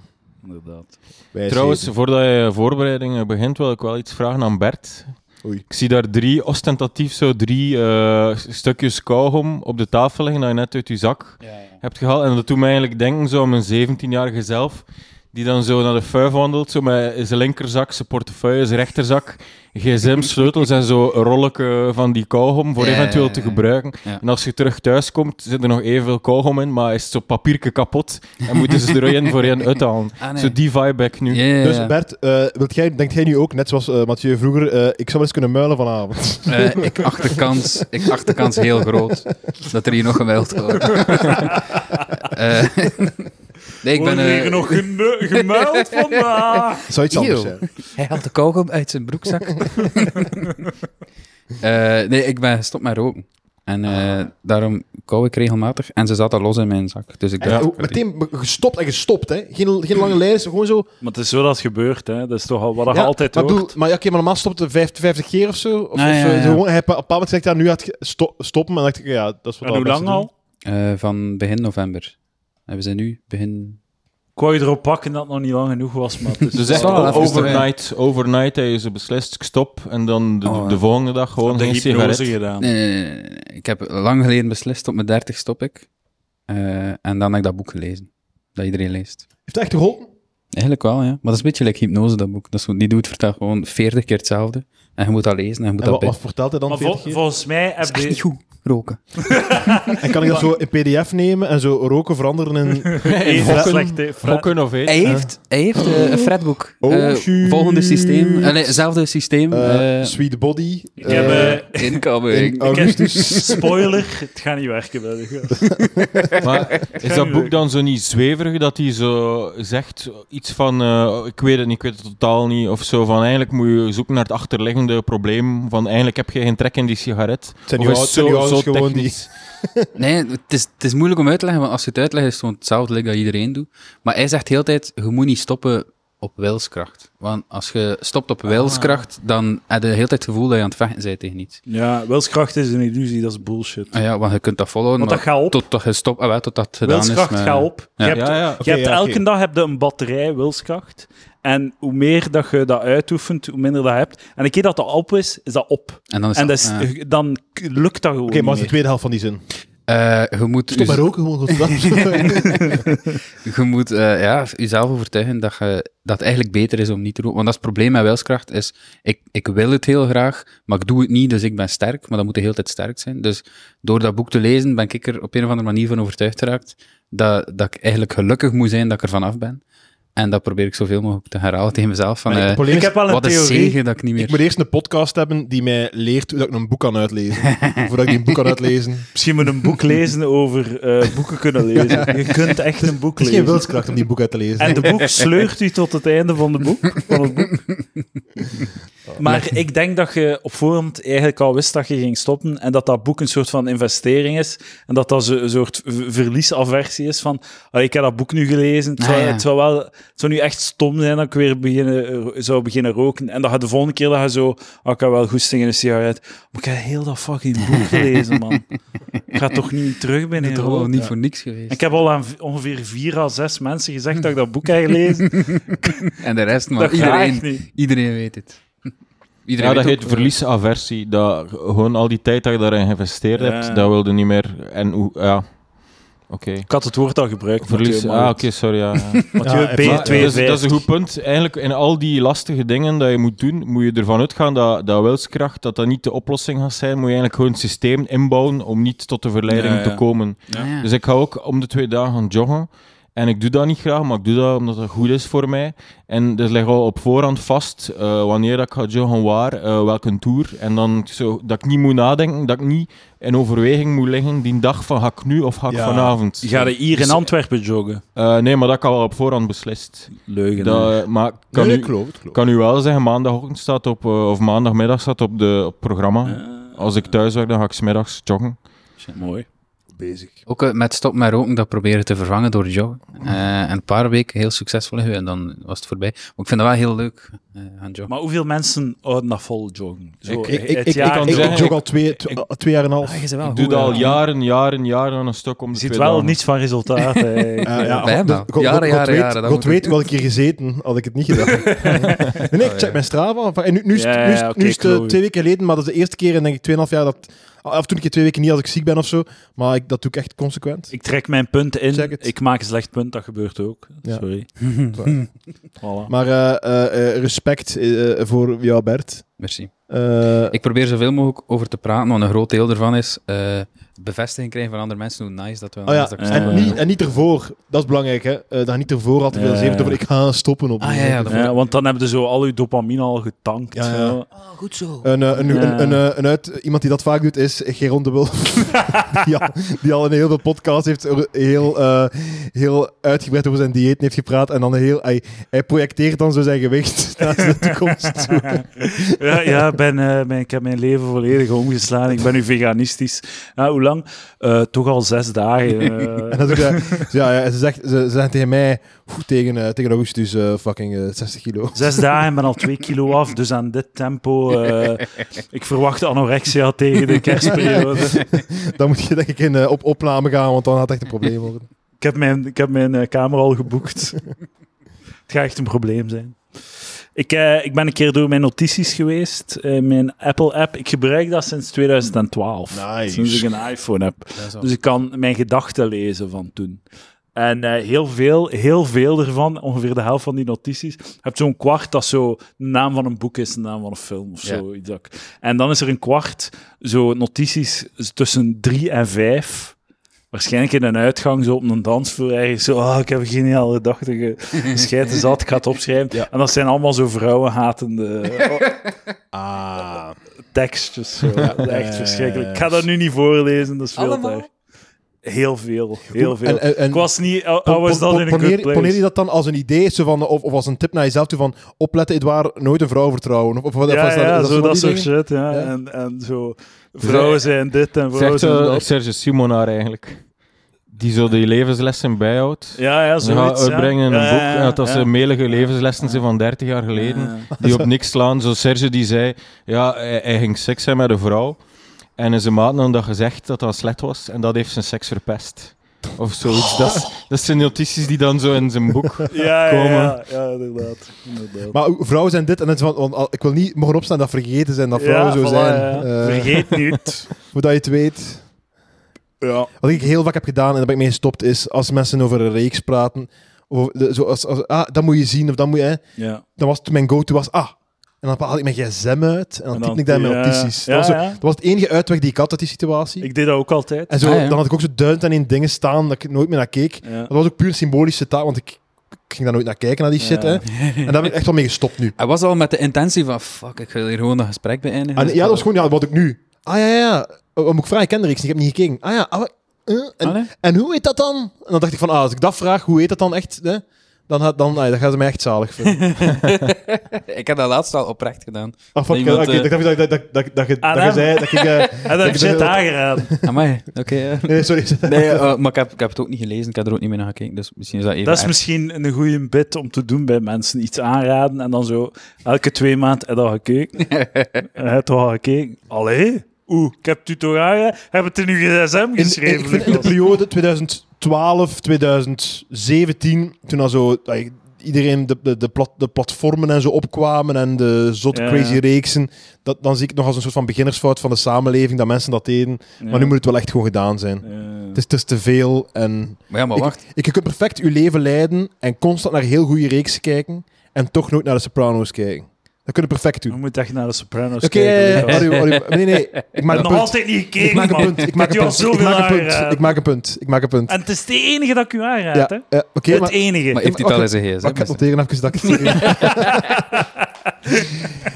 inderdaad.
wijsheden.
Trouwens, voordat je voorbereidingen begint, wil ik wel iets vragen aan Bert.
Oei.
Ik zie daar drie, ostentatief zo drie eh, stukjes kauwgom op de tafel liggen dat je net uit je zak hebt gehaald. En dat doet mij eigenlijk denken zo aan mijn 17-jarige zelf, die dan zo naar de vuif wandelt, zo met zijn linkerzak, zijn portefeuille, zijn rechterzak, gsm-sleutels en zo een rolletje van die kauwgom voor
Ja,
eventueel
ja,
te
ja.
gebruiken.
Ja.
En als je terug thuis komt, zit er nog evenveel kauwgom in, maar is het zo papierke kapot en moeten ze er één voor één uithalen.
Ah, nee.
Zo die vibe heb ik nu.
Ja, ja, ja.
Dus Bert, eh, wilt jij, denkt jij nu ook, net zoals eh, Mathieu vroeger, eh, ik zou wel eens kunnen muilen vanavond?
Eh, ik, acht de kans, ik acht de kans heel groot dat er hier nog gemeld wordt. Eh, nee, ik ben...
Worden
eh,
hier nog genu- gemuild vandaag?
Het zou iets anders
Eeuw.
zijn.
Hij haalt de kauwgom uit zijn broekzak. Eh, nee, ik ben gestopt met roken. En eh, daarom kauw ik regelmatig. En ze zat al los in mijn zak. Dus ik
En
dacht...
ook meteen be- gestopt en gestopt, hè? Geen, geen lange lijst, gewoon zo.
Maar het is zo dat het gebeurt, hè. Dat is toch al wat je
Ja,
altijd
maar,
hoort.
bedoel, maar, ja, oké, maar normaal stopt het 50, 50 keer of zo. Of,
Ah,
of
ja,
zo.
ja.
Zo Gewoon, hij, heeft op een bepaald moment gezegd, ja, nu gaat het sto- stoppen. En dan dacht ik, ja, dat is wat
en hoe
alle
lang
mensen
al?
eh, van begin november. En we zijn nu begin...
Ik wou je erop pakken dat het nog niet lang genoeg was, maar het is-
Dus
Dat
echt
is wel even
overnight, overnight heb je ze beslist, ik stop. En dan de,
Oh, ja.
de volgende dag gewoon
de
geen
hypnose
sigaret.
gedaan.
Nee, nee, nee, nee, nee. Ik heb lang geleden beslist, op mijn dertig stop ik. Eh, en dan heb ik dat boek gelezen. Dat iedereen leest.
Heeft het echt geholpen?
Eigenlijk wel, ja. Maar dat is een beetje like hypnose, dat boek. Dat is, die doet vertelt gewoon 40 keer hetzelfde. En je moet dat lezen en je moet dat
En wat,
bij.
wat vertelt hij dan
Maar
40
vol-
keer?
volgens mij heb
Dat is echt niet
je...
goed, roken.
En kan ik dat zo in pdf nemen en zo roken veranderen in...
Eén
Gokken.
slechte fra-
Gokken of
Hij
eten.
heeft, hij heeft eh, een fretboek.
Oh,
Eh,
shoot.
volgende systeem. eh, nee, hetzelfde systeem.
eh,
eh,
sweet body.
Ik heb, eh, ik dus
in
oh.
Incoming.
augustus.
Spoiler, het gaat niet werken. bij de gast.
Maar is dat boek dan zo niet zweverig dat hij zo zegt iets van, eh, ik weet het niet, ik weet het totaal niet, of zo van eigenlijk moet je zoeken naar het achterliggende probleem, van eigenlijk heb je geen trek in die sigaret.
Het zijn
Of
uw
is
oud-
het
zijn uw ouders gewoon die-
technisch?
Nee, het is, het is moeilijk om uit te leggen, want als je het uitlegt is het gewoon hetzelfde like dat iedereen doet. Maar hij zegt heel de tijd, je moet niet stoppen op wilskracht. Want als je stopt
Ah.
op wilskracht, dan heb je de hele tijd het gevoel dat je aan het vechten bent tegen iets.
Ja, wilskracht is een illusie, dat is bullshit.
Ah ja, want je kunt dat volhouden,
Want
maar
dat gaat op.
totdat je stopt, ah, wel, totdat het gedaan
Wilskracht
is. met-
gaat op.
ja.
Je hebt,
Ja, ja.
je hebt
ja,
elke
oké.
dag heb je een batterij wilskracht. En hoe meer dat je dat uitoefent, hoe minder dat je hebt. En een keer dat dat op is, is dat op.
En dan is
en
dat-
dat is-
ja.
dan k- lukt dat gewoon
Oké, maar wat is de
niet meer.
tweede helft van die zin?
Eh, je moet,
Stop
je-
maar roken gewoon. godverdamme.
je moet eh, ja, jezelf overtuigen dat, je, dat het eigenlijk beter is om niet te roken. Want dat is het probleem met wilskracht, is ik, ik wil het heel graag, maar ik doe het niet, dus ik ben sterk. Maar dat moet de hele tijd sterk zijn. Dus door dat boek te lezen ben ik er op een of andere manier van overtuigd geraakt dat, dat ik eigenlijk gelukkig moet zijn dat ik er vanaf ben. En dat probeer ik zoveel mogelijk te herhalen tegen mezelf. Van,
Het
eh,
probleem
Ik
is,
heb wel een
wat een
theorie.
zegen dat ik niet
ik
meer...
moet eerst een podcast hebben die mij leert hoe dat ik een boek kan uitlezen. Voordat ik die een boek kan uitlezen. Het
Misschien moet je een boek lezen over eh, boeken kunnen lezen. Je kunt echt een boek
is geen
lezen.
wilskracht om die boek uit te lezen.
En de boek sleurt u tot het einde van, de boek, van het boek. Maar ik denk dat je op voorhand eigenlijk al wist dat je ging stoppen en dat dat boek een soort van investering is en dat dat zo- een soort v- verliesaversie is van "Allee, ik heb dat boek nu gelezen, het zou,
Ah, ja.
het zou wel, het zou nu echt stom zijn dat ik weer beginnen, eh, zou beginnen roken en dat je de volgende keer dat je zo, "Ah, ik heb wel goed in een sigaret, maar ik heb heel dat fucking boek gelezen man. Ik ga toch niet terug
Het
binnen
is toch wel
roken?"
niet voor niks geweest.
Ik heb al aan v- ongeveer vier à zes mensen gezegd dat ik dat boek heb gelezen.
En de rest, maar
dat gaat echt
iedereen,
niet.
iedereen weet het. Iedereen
Ja, dat
weet ook-
heet verliesaversie. Dat, gewoon al die tijd dat je daarin geïnvesteerd
Ja.
hebt, dat wilde niet meer. En hoe, ja, oké.
Ik had het woord al gebruikt.
Verlies, ah, oké, sorry. Ja, ja.
Ja,
Want
en
je
maar-
bent
dat, is,
B52.
dat is een goed punt. Eigenlijk, in al die lastige dingen dat je moet doen, moet je ervan uitgaan dat, dat wilskracht dat dat niet de oplossing gaat zijn. Moet je eigenlijk gewoon een systeem inbouwen om niet tot de verleiding
Ja, ja.
te komen.
Ah, ja.
Dus ik ga ook om de twee dagen gaan joggen. En ik doe dat niet graag, maar ik doe dat omdat dat goed is voor mij. En dus leg al op voorhand vast eh, wanneer dat ik ga joggen, waar, eh, welke tour. En dan zo, dat ik niet moet nadenken, dat ik niet in overweging moet liggen die dag van ga ik nu of ga ik
Ja.
vanavond.
Je gaat hier in Antwerpen joggen.
Eh, nee, maar dat kan wel op voorhand beslist.
Leugen.
Dat, eh, maar ik kan,
Nee,
u,
klopt, klopt.
kan u wel zeggen, maandagochtend staat op, eh, of maandagmiddag staat op, de, op het programma.
Ah.
Als ik thuis werk, dan ga ik smiddags joggen.
Mooi.
bezig.
Ook eh, met stop met roken, dat proberen te vervangen door joggen. Eh, en een paar weken heel succesvol geweest en dan was het voorbij. Maar ik vind dat wel heel leuk, eh, aan joggen.
Maar hoeveel mensen houden dat vol joggen? Zo,
Ik-
Ik, ik,
het
ik,
jaar
ik,
kan
door.
zeggen,
jog al twee, tw- twee jaar en een half.
Ah, je bent wel
Ik
goed,
doe dat
hè.
al jaren, jaren, jaren aan een stuk om
Je
de
ziet
twee
wel
dagen.
niets van resultaat. hè.
Eh, ja,
bij hem
dus
wel.
God- God-
Jaren,
God
jaren,
weet-
jaren, dat
God
moet
weet wel een keer gezeten, had ik het niet gedaan. nee, nee, ik check mijn Strava. Enfin, En nu, nu, is het-
Ja,
nu is het-
oké,
nu is het eh,
klopt.
twee weken geleden, maar dat is de eerste keer in denk ik 2,5 jaar dat... Af toen ik twee weken niet als ik ziek ben of zo. Maar ik, dat doe ik echt consequent.
Ik trek mijn punt
Check
in.
het.
Ik maak een slecht punt, dat gebeurt ook.
Ja.
Sorry.
Sorry.
Voilà.
Maar eh, eh, eh, respect eh, eh, voor jou, Bert.
Merci.
Eh,
Ik probeer zoveel mogelijk over te praten, want een groot deel ervan is eh, bevestiging krijgen van andere mensen hoe nice dat wel
oh
is.
ja,
dat ik
eh,
stop
en,
met
niet,
roken.
en niet ervoor. Dat is belangrijk, hè. Eh dat niet ervoor altijd veel
Ja.
zeven over ik ga stoppen op.
Ah ja, ja, dat vond ik-
Ja, want dan hebben ze zo al uw dopamine al getankt.
Ja, ja.
zo.
Een, eh, een,
Ja.
een, een, eh, een uit, iemand die dat vaak doet is Geron de Wulf. die, al, die al in heel veel podcasts heeft er heel, eh, heel uitgebreid over zijn dieet heeft gepraat. En dan heel, hij, hij projecteert dan zo zijn gewicht naar de toekomst toe.
ja, ja ik ben, eh, mijn, ik heb mijn leven volledig omgeslaan. Ik ben nu veganistisch. Ja, hoe lang? Eh, toch al zes dagen. eh.
En dat ik, eh, ja, ja, ze, zegt, ze, ze zeggen tegen mij, "Oeh, tegen, eh, tegen augustus, eh, fucking eh, 60 kilo.
Zes dagen en ben al twee kilo af, dus aan dit tempo. eh, ik verwacht anorexia tegen de kerstperiode.
Dan moet je denk ik in, eh, op opname gaan, want dan had het echt een probleem worden.
Ik heb mijn, ik heb mijn eh, kamer al geboekt. Het gaat echt een probleem zijn. Ik, eh, ik ben een keer door mijn notities geweest, eh, mijn Apple-app. Ik gebruik dat sinds 2012,
Nice.
sinds ik een iPhone heb.
Dat is wel-
Dus ik kan mijn gedachten lezen van toen. En eh, heel veel, heel veel ervan, ongeveer de helft van die notities, hebt zo'n kwart dat zo de naam van een boek is, de naam van een film of
Ja.
zo. iets dat ik- En dan is er een kwart zo notities tussen drie en vijf. Waarschijnlijk in een uitgang, zo op een dansvloer, ergens zo, ah, ik heb een geniale gedachte, ge- schijten zat, ik ga het opschrijven. En dat zijn allemaal zo vrouwenhatende
Ah.
tekstjes. Zo. Echt verschrikkelijk. Ik ga dat nu niet voorlezen, dat is veel te erg. Heel veel, heel veel.
En- en- en-
ik was niet, oh, I, I
Pon-
was
pon-
not in a good
pon- poneer,
place.
poneer je dat dan als een idee zo van, of, of als een tip naar jezelf toe van opletten, Edouard, nooit een vrouw vertrouwen? Of, of, wat-
ja,
of is dat,
ja,
is dat
zo
van
dat
die
soort
dingen?
shit, ja.
Ja.
En, en zo, vrouwen zijn dit en vrouwen
Zegt
zijn
eh,
zo
dat.
Serge Simonaar eigenlijk. Die zo die levenslessen bijhoudt.
Ja, ja,
Ze gaan
zoiets, ja.
uitbrengen in een
Ja,
boek.
ja,
en dat dat
ja.
ze melige levenslessen zijn van 30 jaar geleden. Die op niks slaan. Zo Serge die zei. Ja, hij, hij ging seks hebben met een vrouw. En in zijn maat had dat gezegd dat dat slecht was. En dat heeft zijn seks verpest. Of zoiets. Dat, is- dat zijn notities die dan zo in zijn boek.
Ja, ja, ja,
komen.
ja, inderdaad. inderdaad.
Maar hoe- vrouwen zijn dit en het is van, want al- ik wil niet mogen opstaan dat vergeten zijn, dat vrouwen zo
voilà,
zijn.
ja.
Eh,
Vergeet niet.
voordat je het weet.
ja.
Wat ik heel vaak heb gedaan en daar ben ik mee gestopt, is als mensen over een reeks praten, of de- zo als, als, ah, dat moet je zien, of dat moet je... Hè,
ja.
dan was toen mijn go-to was, ah, en dan haal ik mijn gsm uit en
En
dan typ
dan-
ik dat in mijn
ja,
notities.
ja,
dat, was zo-
ja.
dat was het enige uitweg die ik had uit die situatie.
Ik deed dat ook altijd.
En zo,
Ah, ja.
dan had ik ook zo duidend aan één dingen staan dat ik nooit meer naar keek.
Ja.
Dat was ook puur een symbolische taal, want ik, ik ging daar nooit naar kijken, naar die shit.
Ja.
Hè. En daar ben ik echt wel mee gestopt nu.
Hij was al met de intentie van, fuck, ik wil hier gewoon een gesprek beëindigen.
En,
Dus
Ah, ja, dat was
ik
gewoon ja, wat ik nu. Ah ja, ja, ja. Oh, Wat moet ik vragen? Ik ken de reeks niet, ik heb niet gekeken. Ah ja, ah, wat- eh,
ga-
en,
Allee?
en hoe heet dat dan? En dan dacht ik van, ah, als ik dat vraag, hoe heet dat dan echt? Hè? Dan, gaat- dan, ah, dan gaan ze mij echt zalig vinden.
Ik heb dat laatst al oprecht gedaan.
Ah, fuck,
Iemand,
oké,
eh,
ik dacht dat- dat- dat- dat- dat je
Ah,
dat je
nee.
zei dat ik... eh,
En dat
Ik
zit
bedoel-
aangeraden.
Amai, oké. ja.
Nee, sorry.
Nee, eh, maar ik heb, ik heb het ook niet gelezen, ik heb er ook niet meer naar gekeken, dus misschien is dat even
Dat is
erg.
misschien een goede bit om te doen bij mensen. Iets aanraden en dan zo elke twee maanden heb je dat gekeken. heb je toch al gekeken? Allee? Oeh, ik heb het u toch aanraden? Heb het in uw gsm
In,
geschreven?
ik vind in de
Lucas?
periode 2012, 2017, toen al zo eh, iedereen de, de, de, plat, de platformen en zo opkwamen en de zotte
Ja,
crazy
ja.
reeksen, dat, dan zie ik het nog als een soort van beginnersfout van de samenleving dat mensen dat deden. Maar nu moet het wel echt gewoon gedaan zijn.
Ja.
Het, is, het is te veel en
Maar ja, maar wacht.
ik, je kunt perfect je leven leiden en constant naar heel goede reeksen kijken en toch nooit naar de Sopranos kijken. Dat kun je perfect
Je
doen.
moet echt naar de Sopranos
Oké,
kijken. Lucas.
Arjo, Arjo, nee, nee,
ik
ik maak een
heb nog
punt.
altijd niet gekeken,
Ik maak een
man.
punt. Ik
Ik
maak
heb
een
je al
punt. Ik
zoveel
maak een punt.
aangeraden.
Ik maak een punt. Ik maak een punt.
En het is de enige dat ik u aanraad,
Ja,
hè?
eh, oké,
het
maar,
enige.
Maar heeft hij het al eens een
maar ik ga
gsm?
noteren even dat ik het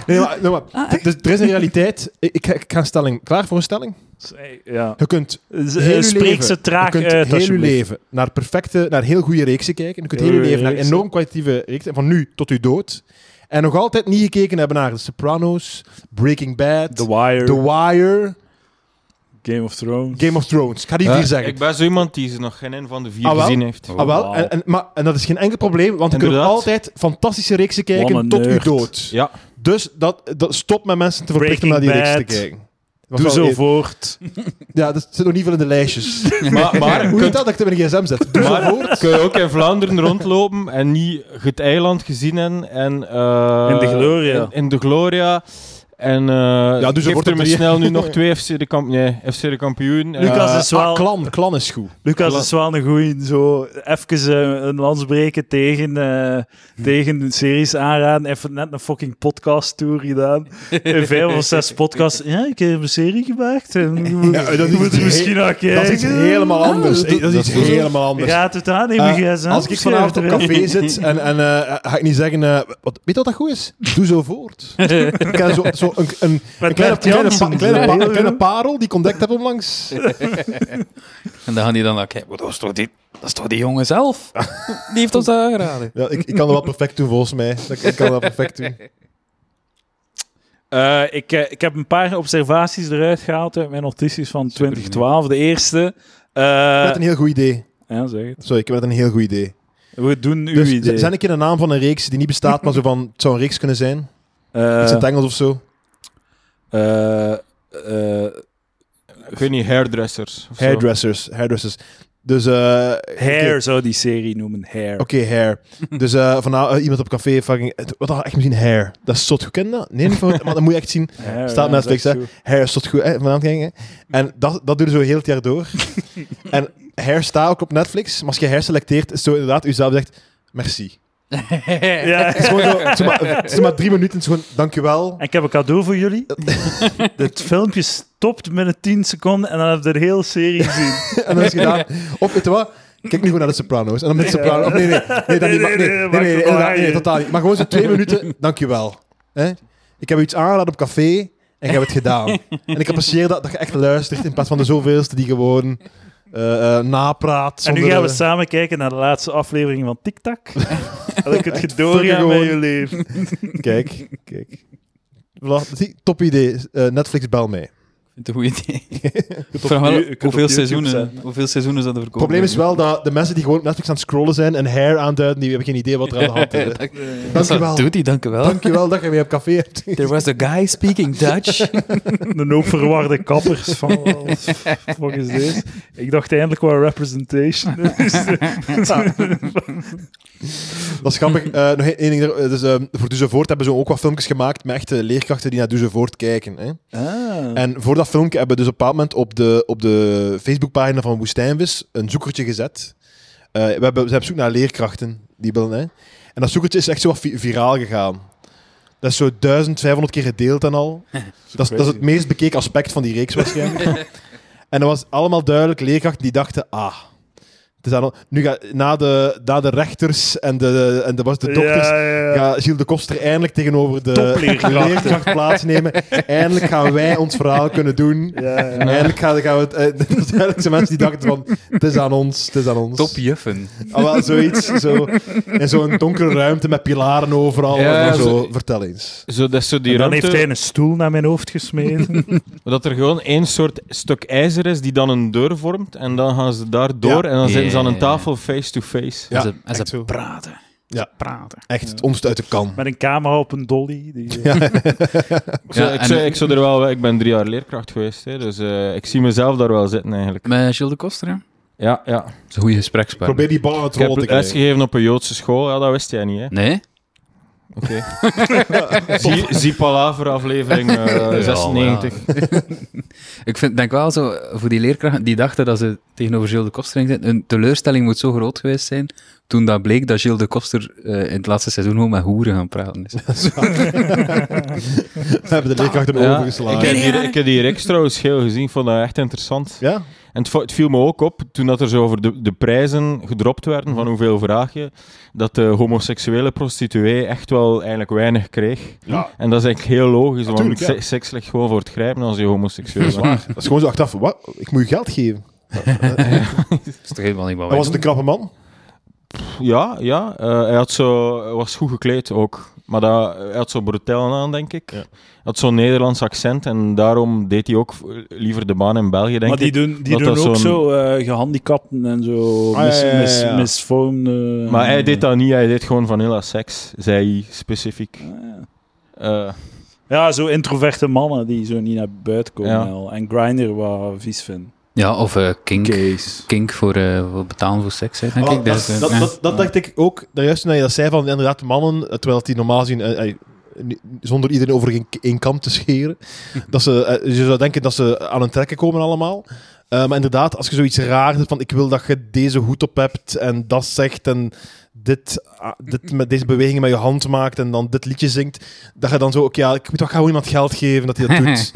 Nee, maar, nee, maar d- dus er is een realiteit. Ik, ik, ik ga een stelling. Klaar voor een stelling?
Dus, Ja.
Je kunt
Z-
heel je
eh, Spreek
leven,
ze traag
je kunt
uit,
heel je
alsjeblieft.
leven naar perfecte, naar heel goede reeksen kijken. Je kunt heel
Heel
je leven naar
reeksen.
enorm kwalitatieve reeksen, van nu tot uw dood. En nog altijd niet gekeken hebben naar The Sopranos, Breaking Bad,
The Wire,
The Wire,
Game of Thrones.
Game of Thrones. Ik ga die
Ja,
vier zeggen.
Ik ben zo iemand die ze nog geen een van de vier
Ah, wel?
gezien heeft.
Ah, wel.
Wauw.
En, en, maar, en dat is geen enkel probleem, want je kunt
Inderdaad.
altijd fantastische reeksen
Wat
kijken
een
tot uw
nerd.
dood.
Ja.
Dus dat, dat, stop met mensen te verplichten om naar die
Breaking
reeksen te
Bad.
kijken. Dat was
Doe
wel
zo
eer-
voort.
Ja, dat zit nog niet veel in de lijstjes.
Maar, maar,
Hoe
kun,
heet dat dat ik het in mijn gsm zet? Doe zo voort.
maar kun je ook in Vlaanderen rondlopen en niet het eiland gezien hebben. En, eh,
In de Gloria.
In, in de Gloria. En eh
dus er
geeft
wordt
er
er
maar
drie.
snel nu nog twee FC de, kamp nee, FC de kampioen. Eh,
Lucas
Eh,
is wel-
ah, klan, klan is goed.
Lucas
Klopt.
is wel een goeie. Zo even eh, een lans breken tegen, eh, tegen series aanraden. Hij heeft net een fucking podcast tour gedaan. In vijf of zes podcasts. Ja, ik heb een serie gemaakt. En je moet,
Ja, dat is
je moet er
iets
misschien
heel-
naar kijken.
Dat is iets helemaal
Ah,
anders. Eh, Dat is iets
dat is-
helemaal anders.
Gaat het aan, neem
Eh,
je gsm.
als ik vanavond op café zit en, en eh, ga ik niet zeggen, eh, wat, weet je wat dat goed is? Doe zo voort. ik heb zo, zo een, een, een,
Bert
kleine, een, kleine, pa-
Janssens,
een, kleine,
hè?
pa- een kleine parel die ik ontdekt heb onlangs.
En dan gaan die dan naar kijken, "Wat, dat is toch die, dat is toch die jongen zelf? Die heeft ons dat aangeraden.
Ja, ik, ik kan dat wel perfect doen, volgens mij. Ik, ik kan dat perfect doen.
Eh, ik, eh, ik heb een paar observaties eruit gehaald uit mijn notities van 2012. De eerste. eh,
Met een heel goed idee.
ja, zeg het.
Sorry, ik heb net een heel goed idee.
We doen uw
Dus
idee.
zijn ik in de naam van een reeks die niet bestaat, maar zo van, het zou een reeks kunnen zijn? Iets
Eh,
in het Engels of zo?
eh, eh,
Ik weet niet, hairdressers. of zo.
Hairdressers. Hairdressers. Dus, eh,
Hair
oké.
zou die serie noemen, Hair.
Oké, hair. Dus eh vanavond eh, iemand op café, fucking, het- wat had ik echt misschien hair? Dat is zot goed, ken je dat? Nee, niet van, maar dat moet je echt zien.
Hair,
Staat
ja,
Netflix,
dat
hè?
is goed.
Hair is zot goed, hè, vanavond kijken. hè. En dat, dat duurde zo heel het jaar door. en Hair staat ook op Netflix. Maar als je Hair selecteert, is het zo inderdaad uzelf zegt, merci.
Ja.
Het is gewoon zo, het is maar, het is maar drie minuten, het is gewoon dankjewel.
En ik heb een cadeau voor jullie. Dit filmpje stopt binnen 10 seconden en dan heb je de hele serie gezien.
En dan is het gedaan. Of weet je wat? Kijk nu gewoon naar de Sopranos. En dan met de Sopranos. of nee, nee. Nee, dat niet. maar- Nee,
Nee, nee,
nee,
maakt
nee,
het
inderdaad,
wel
nee,
aan,
totaal niet. Maar gewoon zo twee minuten, dankjewel. Hè? Ik heb u iets aangeladen op café en ik heb het gedaan. En ik apprecieer dat, dat je echt luistert in plaats van de zoveelste die gewoon eh, eh, napraat.
En nu
zonder,
gaan we
eh,
samen kijken naar de laatste aflevering van TikTok. Dat ik het
fucking
gedoorgaan
gewoon.
met je leven.
Kijk, kijk. Voilà, zie, top idee. Eh, Netflix, bel mee.
vind het een goed idee.
Je kunt op
Vraag wel
you- je kunt op
hoeveel,
YouTube
seizoenen,
zetten.
hoeveel seizoenen zijn er
Het
verkopen?
probleem is wel dat de mensen die gewoon op Netflix aan het scrollen zijn en hair aanduiden, die hebben geen idee wat er aan de hand is.
Dank-
Dankjewel.
Doet hij, dankjewel.
Dankjewel dat je weer op café hebt.
There was a guy speaking Dutch.
Een hoop verwarde kappers van wat volgens deze. Ik dacht eindelijk wel representation.
Ah. Dat is grappig. Eh, nog één ding. er- eh, Dus, ehm, voor Duzevoort hebben ze ook wat filmpjes gemaakt met echte leerkrachten die naar Duzevoort kijken. Hè?
ah.
En voor dat filmpje hebben we dus op een bepaald moment op de, op de Facebookpagina van Woestijnvis een zoekertje gezet. Eh, we, hebben, we zijn op zoek naar leerkrachten. Die willen, hè? En dat zoekertje is echt zo wat vi- viraal gegaan. Dat is zo 1500 keer gedeeld en al. Dat is, dat is het meest bekeken aspect van die reeks waarschijnlijk. en dat was allemaal duidelijk leerkrachten die dachten, ah... Het is aan- nu ga, na, de, na de rechters en de, en de, was de dokters
Ja, ja, ja.
gaat Gilles de Koster eindelijk tegenover de
Topleerkrachten.
leerkracht plaatsnemen. Eindelijk gaan wij ons verhaal kunnen doen.
Ja, ja.
Eindelijk gaan, gaan we het... eh, dat zijn eigenlijk zo mensen die dachten van, het is aan ons, het is aan ons.
Top juffen.
Ah, wel, zoiets, zo, in zo'n donkere ruimte met pilaren overal.
Ja,
en zo,
zo-
Vertel eens.
Zo, dat is zo die
En dan
ruimte-
heeft hij een stoel naar mijn hoofd gesmeten.
Dat er gewoon één soort stuk ijzer is die dan een deur vormt. En dan gaan ze daar door en dan zitten ze aan een
Ja, ja, ja.
tafel face-to-face.
Ja,
en ze, en ze
echt zo.
praten.
Ja.
Ze praten.
Echt, het onderste uit de kan.
Met een camera op een dolly. Die, eh, ja.
Ik zou-
Ja,
ik,
en-
zou, ik zou er wel... Ik ben drie jaar leerkracht geweest, hè, dus eh, ik zie mezelf daar wel zitten eigenlijk.
Met Gilles de Koster, hè? Dat
Ja, ja.
is een goede gesprekspartner.
Probeer die bal uit
Ik
het rollen
heb
te krijgen.
lesgegeven op een Joodse school. Ja, dat wist jij niet, hè?
Nee?
Oké. zie, zie Palaver aflevering eh, 96.
Ik vind, denk wel zo, eh, voor die leerkrachten die dachten dat ze tegenover Gilles de Koster gingen zitten, hun teleurstelling moet zo groot geweest zijn toen dat bleek dat Gilles de Koster eh, in het laatste seizoen gewoon met hoeren gaan praten is.
We hebben de leerkrachten
Ja,
overgeslagen.
ik, heb die, ik heb die Rex trouwens heel gezien, ik vond dat echt interessant.
Ja?
En het, vo- het viel me ook op, toen dat er zo over de, de prijzen gedropt werden,
Mhm.
van hoeveel vraag je, dat de homoseksuele prostituee echt wel eigenlijk weinig kreeg.
Ja.
En dat is eigenlijk heel logisch, want
Natuurlijk, ja.
se- seks ligt gewoon voor het grijpen als je homoseksueel bent.
Dat is gewoon zo achteraf, wat? Ik moet je geld geven.
Dat is toch helemaal niet wat
Maar
wij
was het een knappe man?
Ja, ja. eh, hij had zo, hij was goed gekleed ook. Maar dat, hij had zo bretellen aan, denk ik. Hij had zo'n Nederlands accent en daarom deed hij ook eh, liever de baan in België, denk
Maar die
ik.
doen, die
dat
doen
dat
ook
zo'n-
zo eh, gehandicapten en zo
Ah,
mis,
ja, ja, ja,
mis-
ja.
misvormde.
Maar hij deed dat niet, hij deed gewoon vanilla seks, zei hij specifiek. Eh,
Ah, Ja, zo introverte mannen die zo niet naar buiten komen.
Ja.
al. En Grindr wat vies vindt.
Ja, of eh, kink.
Kees.
Kink voor, eh, voor betalen voor seks, hè, denk
Ah,
ik.
dat,
Dus, eh,
dat,
ja.
dat, dat dacht ik ook. Daar juist toen je dat zei van inderdaad mannen, eh, terwijl die normaal zien, eh, eh, ni- zonder iedereen over één- één kam te scheren, dat ze, eh, je zou denken dat ze aan hun trekken komen allemaal. Eh, maar inderdaad, als je zoiets raar hebt van ik wil dat je deze hoed op hebt en dat zegt en dit, ah, dit met deze bewegingen met je hand maakt en dan dit liedje zingt, dat je dan zo, oké, ja, ik moet toch gewoon iemand geld geven dat hij dat doet.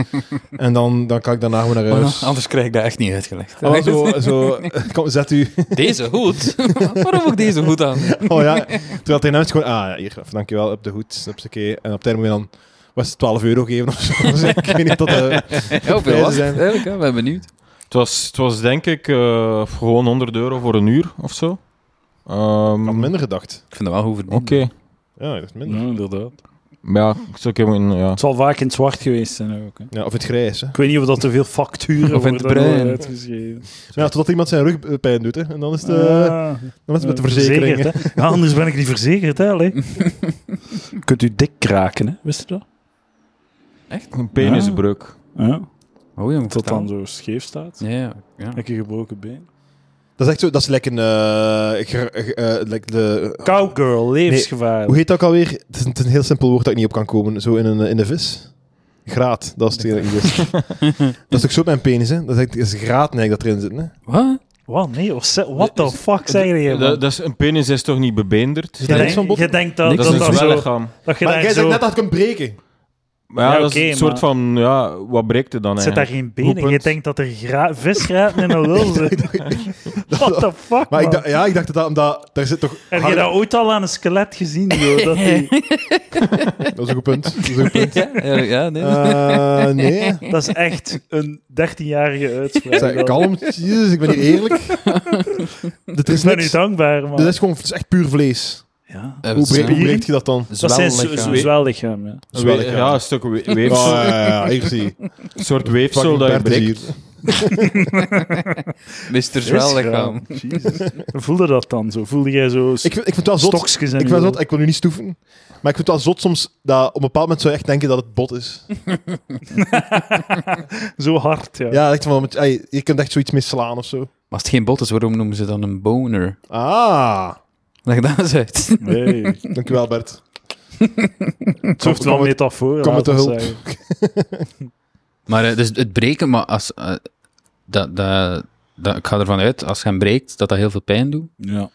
en dan, dan kan ik daarna gewoon naar
Maar
huis.
dan- Oh, nou, anders krijg ik dat echt niet uitgelegd.
Ah, wel, zo, zo, kom, zet u.
Deze hoed? Waarom ook deze hoed aan?
Oh ja, terwijl tegen hem is gewoon, ah ja, hier, graf, dankjewel, op de hoed, snap je, oké. En op het einde moet je dan, was het 12 euro geven of zo? Dus ik weet niet dat eh,
Heel veel
Prijzen
was het
zijn-
eigenlijk, hè? ik ben benieuwd.
het, was, het was denk ik eh, gewoon 100 euro voor een uur of zo. Ehm,
Ik had minder gedacht.
Ik vind dat wel hoe
Oké.
verdiend.
Ja, ik dacht
Ja,
minder.
Mm.
inderdaad.
Ja, ik zou ik even- ja.
Het zal vaak in het zwart geweest zijn ook. Hè.
Ja, of het grijs, hè.
Ik weet niet of dat te veel facturen
Of in het
worden dan
bruin.
uitgeschreven.
Maar ja, totdat iemand zijn rugpijn doet, hè. En dan is het, eh,
Ah,
dan is het met de
eh,
verzekering. hè.
verzekerd, hè. Ja, anders ben ik niet verzekerd, hè. allee. Kunt u dik kraken, hè? Wist u dat?
Een penisbreuk.
Ja.
Oh, jong,
Tot dan
vertel.
zo scheef staat.
Ja, ja. ja.
Heb je gebroken been?
Dat is echt zo, dat is lekker een, eh, gra- eh, eh, like de...
Cowgirl, levensgevaar.
Hoe heet dat ook alweer? Het is, een, het is een heel simpel woord dat ik niet op kan komen. Zo in, een, in de vis. Graat, dat is het enige dat ik wist. dat is ook zo op mijn penis, hè. Dat is, echt- is graat eigenlijk dat erin zit, hè.
Wat?
Wat? Nee, of ze- what the fuck zeg je hier, man?
Dat, dat is, een penis is toch niet bebenderd?
Je
dat
denkt-
is zo'n bot-
Je denkt Dus dat
Dat
dat
is een
dat
zwaar
zo...
lichaam.
Dat je
Maar
daar
jij
zo...
zei net dat het kunt breken.
Maar ja,
Ja,
dat is
oké,
een soort
maar-
van, ja, wat breekt er dan
Zit daar
eigenlijk?
geen benen? Je
Roepend.
denkt dat er gra- visgraten in een lul zit. What the fuck,
Maar ik
man?
dacht, ja, ik dacht dat dat omdat... Daar zit toch...
Heb je
harde-
dat ooit al aan een skelet gezien? joh? Dat die-
dat is een goed punt. Dat is een goed punt.
Ja, ja, nee.
Eh, nee.
Dat is echt een 13-jarige uitspraak.
Zeg,
Dat-
kalm, jezus, ik ben hier eerlijk. Dat is
Ik ben u
niks.
dankbaar, man.
Dat is gewoon het is echt puur vlees.
Ja.
Eh,
Hoe breekt,
zwel-
hoe breekt je dat dan?
Dat zijn zo-
zwellichaam.
zo- zwellichaam, ja.
Dat is wel
We-
lekker.
ja, een stuk we-
Oh,
weefsel,
ja, ja, ja, hier zie je.
een soort weefsel dat je
Bert is
breekt.
hier.
Mr. Zwellichaam.
Voelde dat dan zo? Voelde jij zo
Ik, vind- ik vind het wel zot.
stokjes in
Ik,
je-
vind het zot. ik wil nu niet stoeven. Maar ik vind het wel zot soms dat op een bepaald moment zou je echt denken dat het bot is.
Zo hard, ja.
Ja, echt van, met- ey, je kunt echt zoiets mee slaan of zo.
Maar als het geen bot is, waarom noemen ze dan een boner?
Ah,
Leg dat eens uit.
Nee. Het
dankjewel Bert. Het
hoeft wel metafoor,
kom
laat
met de
ons
hulp.
zeggen.
Maar eh, dus het breken, maar als... eh, dat, dat, dat, ik ga ervan uit, als je hem breekt, dat dat heel veel pijn doet.
Ja,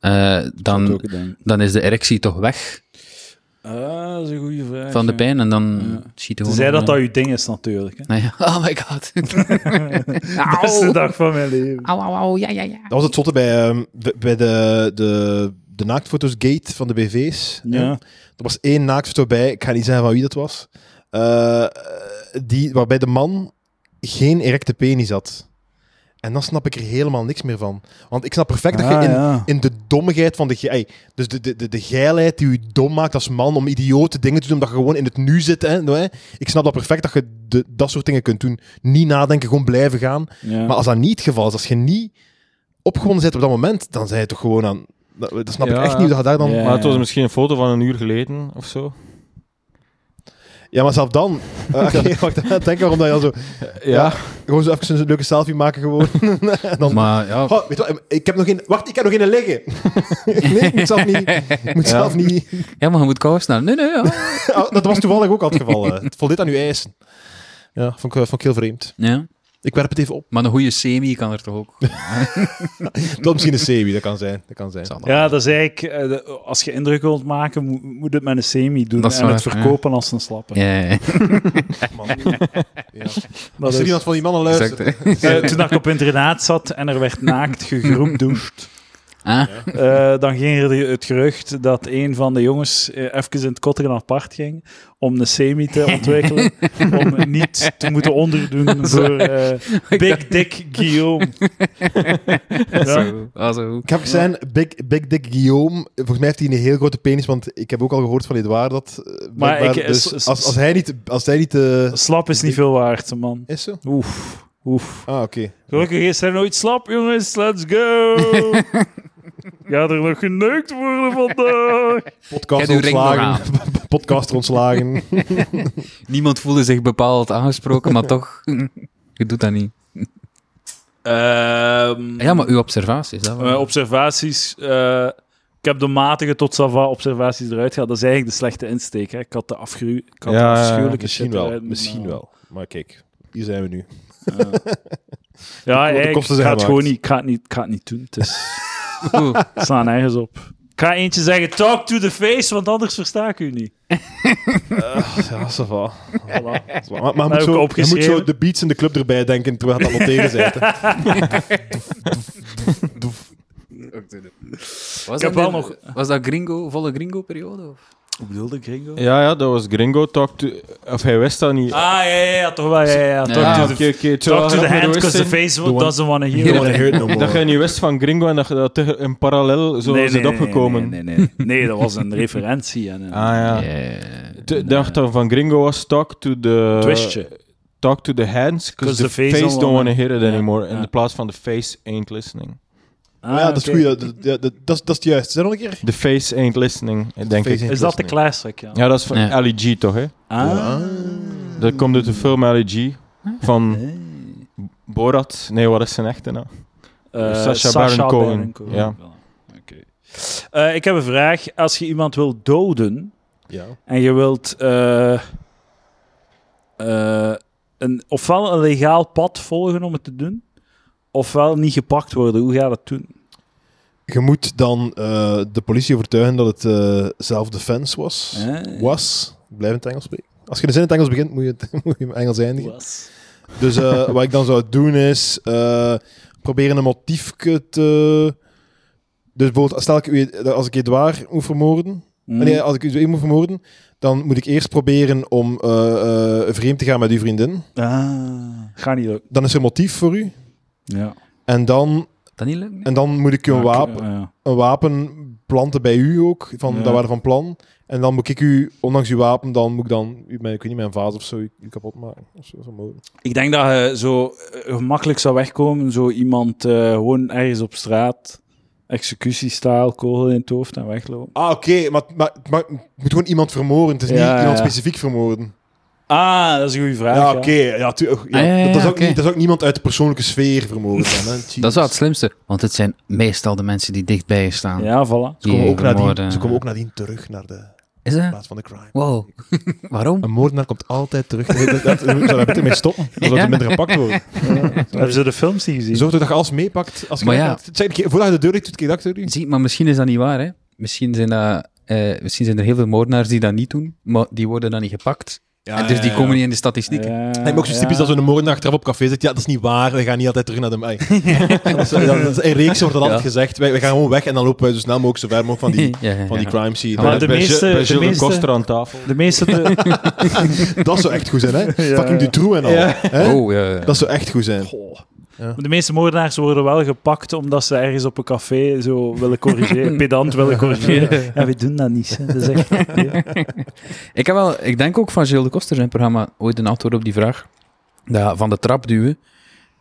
Eh,
dat
dan,
ook denk.
dan is de erectie toch weg
Ah, dat is een goede vraag.
van de pijn en dan
Ja.
ziet hij gewoon...
Zij dat dat
nog
uw ding is, natuurlijk. Hè.
een- Nee, oh my god.
Beste dag van mijn leven.
Au, au, au, ja, ja, ja.
Dat was het zotte bij, ehm, bij- bij de, de, de naaktfotosgate van de BV's.
Ja.
Er was één naaktfoto bij, ik ga niet zeggen van wie dat was, eh, die, waarbij de man geen erecte penis had. En dan snap ik er helemaal niks meer van. Want ik snap perfect
Ah,
dat je in, in de dommigheid van de... ge- ey, dus de, de, de, de geilheid die u dom maakt als man om idiote dingen te doen, omdat je gewoon in het nu zit. Hè, nou, hè. Ik snap dat perfect dat je de, dat soort dingen kunt doen. Niet nadenken, gewoon blijven gaan.
Ja.
Maar als dat niet het geval is, als je niet opgewonden bent op dat moment, dan zijn je toch gewoon aan... Dat, dat snap ik
Ja,
echt
ja.
niet, dat je daar dan...
Ja.
Maar het was misschien een foto van een uur geleden of zo.
Ja, maar zelf dan. Eh, Oké, wacht, denk waarom dat je al zo... Ja. Gewoon zo even een leuke selfie maken gewoon. En dan...
Maar ja,
Oh, weet je wat, ik heb nog geen... Wacht, ik heb nog geen liggen. nee, ik moet zelf niet... ik moet zelf niet...
ja, maar je moet kous naar. Nee, nee, ja.
Ah, dat was toevallig ook al het geval. eh. Het voldeed aan uw eisen. Ja, vond ik, eh, vond ik heel vreemd.
ja.
Ik werp het even op.
Maar een goede semi kan er toch ook.
Dat misschien een sebi, dat kan zijn. Dat kan zijn.
Zal wel.
Ja, dat is eigenlijk... eh, de- als je indruk wilt maken, moet, moet het met een semi doen.
Dat is
en het
waar, ja.
verkopen als een slapper.
Ja, ja, ja.
Man. Ja.
Dat
Als
is-
er iemand van die mannen luistert...
Exact.
Eh, toen dat ik op internaat zat en er werd naakt gegroepdoest,
Ah,
eh, dan ging er het gerucht dat een van de jongens eh, even in het kotteren apart ging om een semi te ontwikkelen, om niet te moeten onderdoen voor eh, Big Dick Guillaume. Ja.
zo. Ah, zo.
Ik heb gezien, Big, Big Dick Guillaume, volgens mij heeft hij een heel grote penis, want ik heb ook al gehoord van Edouard dat... eh, blijkbaar,
ik-
dus
s- s-
als, als hij niet... Als hij niet eh,
Slap is niet veel waard, man.
is zo?
Oef. Oef.
Ah, oké.
Gelukkig is hij nooit slap, jongens. Let's go! Gaat er nog geneukt worden vandaag?
Podcast
Kijk, uw ring
ontslagen. Podcaster ontslagen.
Niemand voelde zich bepaald aangesproken, maar toch, je doet dat niet. Ja, maar uw observaties. Dat wel.
Eh, observaties. eh, ik heb de matige tot Sava observaties eruit gehaald. Dat is eigenlijk de slechte insteek. Hè. Ik had de, afgru ik had
Ja,
de afschuwelijke
Misschien
shit
wel,
eruit moeten
misschien
halen.
wel. Maar kijk, hier zijn we nu.
Ja,
de
eigenlijk,
kosten
ik
zijn
ga het
gemaakt.
gewoon niet, ik ga het niet, ik ga het niet doen. Het is,
Oeh.
het slaat nergens op. Ik ga eentje zeggen, talk to the face, want anders versta ik u niet.
Ja, ça va.
Voilà.
Dat is waar. Maar, maar je,
heb
moet
Nou, ik
zo, je
opgeschreven.
moet zo de beats in de club erbij denken terwijl je aan het noteren bent. hè.
Was
heb
dat
wel
de-
nog-
Was dat gringo, volle gringo-periode? of?
Hoe bedoelde Gringo?
Ja, ja, dat was Gringo Talk to... Of hij wist dat niet.
Ah, ja, ja, ja, toch wel. Ja, ja, ja. Talk,
Ja,
to,
Ah,
the,
oké, oké. Het zou
talk to
wel
the
grappig
hand,
geweest
because the
zijn
face doesn't want to hear
I
it.
wanna hear it no more.
Dat jij niet wist van Gringo en dat je dat tege- in parallel zo is het opgekomen.
Nee, nee, nee, nee. Nee, dat was een referentie. En, een-
Ah ja.
Eh,
Ik dacht dat van Gringo was Talk to the...
Twistje.
Talk to the hands, because the, face, don't want to hear it anymore. In de plaats van the face ain't listening.
Ah,
Maar ja, dat is
oké.
goed. ja, Dat, dat, dat, dat is- dat is het juist. Zeg nog een keer.
The face ain't listening, denk
face
ik.
Is
ain't
dat de
listening.
classic, ja?
Ja, dat is van
Ja.
Ali G, toch, hè?
Ah.
Dat komt uit de film Ali G. Van Borat. Nee, wat is zijn echte naam?
Eh,
Sacha Baron Cohen. Ja.
Oké. Eh, ik heb een vraag. Als je iemand wil doden
Ja.
en je wilt eh, eh, een, ofwel een legaal pad volgen om het te doen, ofwel niet gepakt worden. Hoe ga je dat doen?
Je moet dan eh, de politie overtuigen dat het eh self-defense was.
Eh?
Was. Ik blijf in het Engels spreken. Als je de zin in het Engels begint, moet je, het, moet je in het Engels eindigen.
Was.
Dus eh, wat ik dan zou doen is eh, proberen een motiefje te. Dus bijvoorbeeld, stel ik, u- als ik Edouard moet vermoorden,
Mm.
nee, als ik u moet vermoorden, dan moet ik eerst proberen om eh, eh, vreemd te gaan met uw vriendin.
Ah, gaat niet lukken.
Dan is er motief voor u.
Ja.
En dan,
Dat niet lukt.
en dan moet ik u een
Maar ik-
wapen,
ja.
een wapen planten bij u ook. Van,
Ja.
Dat waren van plan. En dan moet ik u, ondanks uw wapen, dan moet ik dan, u- mijn, ik weet niet, mijn vaas of zo, u, u kapot maken. Of zo, vermoorden.
Ik denk dat je zo eh, gemakkelijk zou wegkomen, zo iemand eh, gewoon ergens op straat, executiestaal, kogel in het hoofd en weglopen.
Ah, oké, maar, maar, maar het moet gewoon iemand vermoorden. Het is
Ja,
niet iemand
ja.
specifiek vermoorden.
Ah, dat is een goede vraag.
Ja,
ja.
oké. Ja, tu- ja,
Ah, ja, ja,
dat, is ook
oké.
niet, dat is ook niemand uit de persoonlijke sfeer vermogen dan. Hè.
Dat is wel het slimste, want het zijn meestal de mensen die dichtbij je staan.
Ja, voilà.
Ze komen,
die
ook nadien,
vermoorden.
ze komen ook nadien terug naar de
Is dat?
plaats van de crime.
Wow. Waarom?
Een moordenaar komt altijd terug. Dat, dat, dat, daar zou je beter mee stoppen. Dan zou
Ja.
er minder gepakt worden.
Hebben ze de films niet gezien?
Zorg toch dat je alles meepakt. Als je
Maar
weg
ja.
gaat. Zeg, een keer- voordat je de deur dicht doet, kijk dat deur
Zie, maar misschien is dat niet waar, hè? Misschien zijn, dat, eh, misschien zijn er heel veel moordenaars die dat niet doen, maar die worden dan niet gepakt. en dus die komen niet in de statistieken.
Ja,
Nee, maar ook zo
ja.
typisch dat zo'n moordenaar achteraf op café zegt, ja, dat is niet waar, we gaan niet altijd terug naar de... Ai. dat is, dat is- in reeks wordt dat altijd gezegd, wij, wij gaan gewoon weg en dan lopen wij dus zo snel mogelijk, zo ver mogelijk van die,
Ja, ja,
van die
ja.
crime scene.
Maar
Dat-
de
bij Gil-
meeste-
bij
de
Gilles de
meeste-
Koster aan tafel.
De meeste... De...
Dat zou echt goed zijn, hè?
Ja.
Fucking Dutroux en al. Hè?
Oh, ja, ja.
Dat zou echt goed zijn.
De meeste moordenaars worden wel gepakt omdat ze ergens op een café zo willen corrigeren, pedant willen corrigeren. Ja, we doen dat niet. hè. Dat is echt...
Ik, heb wel, ik denk ook van Gilles de Koster zijn programma ooit een antwoord op die vraag. Dat van de trap duwen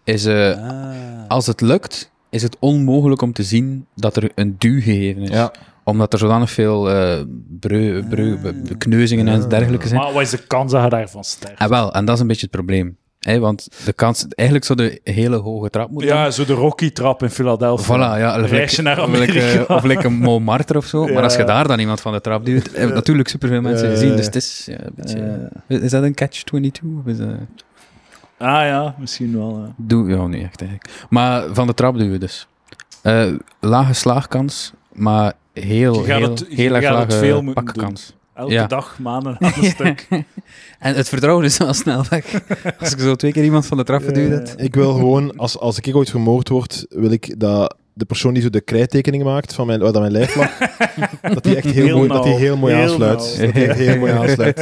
is, eh,
Ah.
als het lukt, is het onmogelijk om te zien dat er een duw gegeven is.
Ja.
Omdat er zodanig veel eh breu, breu, be- be- kneuzingen en dergelijke zijn.
Maar wat is de kans dat je daarvan sterft?
En wel, en dat is een beetje het probleem. Hè? Want de kans, eigenlijk zou de hele hoge trap moeten
Ja, zo de Rocky-trap in Philadelphia.
Voilà, ja. Of
Reisje eh, naar
of like,
Amerika.
eh, of like een Montmartre of zo.
Ja.
Maar als je daar dan iemand van de trap duwt, hebben natuurlijk superveel mensen
Ja, ja,
gezien.
ja.
Dus het is ja, een beetje... is dat een catch-22? Of is dat...
Ah ja, misschien wel. ja.
Doe, ja, niet echt eigenlijk. Maar van de trap duwen dus. Eh, lage slaagkans, maar
Je
heel,
gaat
heel,
het- je
heel erg
gaat het
lage
veel moeten
pakkans.
Elke
Ja.
dag, maanden aan een stuk.
En het vertrouwen is wel snel weg. als ik zo twee keer iemand van de trap verduw, dat...
Eh, Ik wil gewoon, als, als ik ooit vermoord word, wil ik dat de persoon die zo de krijttekening maakt van mijn, waar dat mijn lijf lag, dat die echt heel,
Heel
mooi, dat die
nauw.
heel mooi
Heel
aansluit.
nauw.
Dat die echt heel mooi aansluit.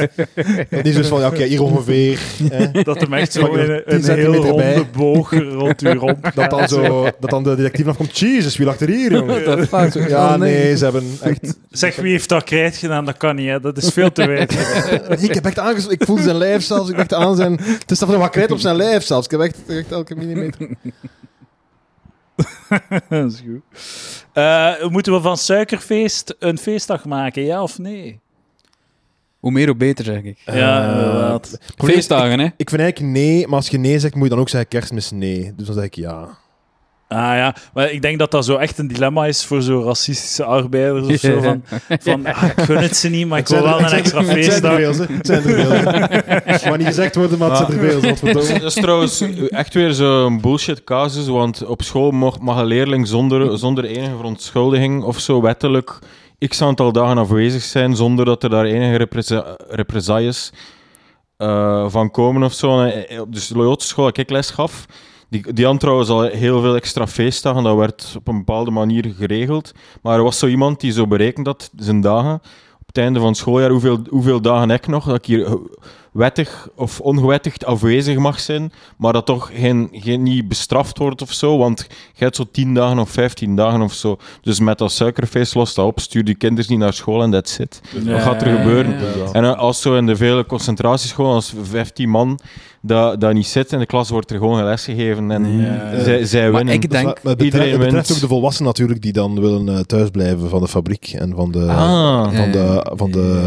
Dat is dus van, ja, oké, hier ongeveer. Hè,
Dat hem echt zo
Pak er
in een,
10
een heel
centimeter
ronde
bij.
boog rond u rond.
dat, dan zo, dat dan de detectief afkomt, jezus, wie lag er hier, jongen?
Dat vaak.
Ja, Oh, nee, ze hebben echt...
Zeg, wie heeft dat krijt gedaan? Dat kan niet, hè. Dat is veel te wijd.
Ik heb echt aanges... Ik voelde zijn lijf zelfs, ik dacht aan zijn... Het is toch nog wat krijt op zijn lijf zelfs. Ik heb echt, echt elke millimeter...
dat is goed. Eh, moeten we van suikerfeest een feestdag maken, ja of nee?
Hoe meer, hoe beter, zeg ik.
ja,
Eh,
inderdaad.
Feestdagen, hè?
Ik vind eigenlijk nee, maar als je nee zegt, moet je dan ook zeggen kerstmis nee. Dus dan zeg ik ja.
Ah ja, maar ik denk dat dat zo echt een dilemma is voor zo racistische arbeiders of zo. Van, van ah, ik gun het ze niet, maar ik wil wel een extra feestdag.
Het zijn er veel, hè. Maar niet gezegd worden, maar het zijn
Ah.
er veel. Wat verdomme.
Dat is trouwens echt weer zo'n bullshit casus, want op school mag, mag een leerling zonder, zonder enige verontschuldiging of zo wettelijk x aantal dagen afwezig zijn zonder dat er daar enige represa- represailles eh, van komen of zo. En, eh, Op de Loyotse school dat ik les gaf, die, die had trouwens al heel veel extra feestdagen, dat werd op een bepaalde manier geregeld. Maar er was zo iemand die zo berekend had, zijn dagen, op het einde van het schooljaar, hoeveel, hoeveel dagen heb ik nog, dat ik hier wettig of ongewettigd afwezig mag zijn, maar dat toch geen, geen, niet bestraft wordt of zo, want je hebt zo 10 dagen of 15 dagen of zo. Dus met dat suikerfeest lost dat op, stuur die kinderen niet naar school en that's it.
Ja.
Wat gaat er gebeuren?
Ja.
En eh, als zo in de vele concentratiescholen, als 15 man dat, dat niet zit in de klas, wordt er gewoon lesgegeven en
Ja.
zij, zij
Maar
winnen.
ik
Dus
denk...
maar- maar het betreft,
iedereen
het betreft
wint.
ook de volwassenen natuurlijk die dan willen eh, thuisblijven van de fabriek en van de,
Ah.
van de,
Eh,
van de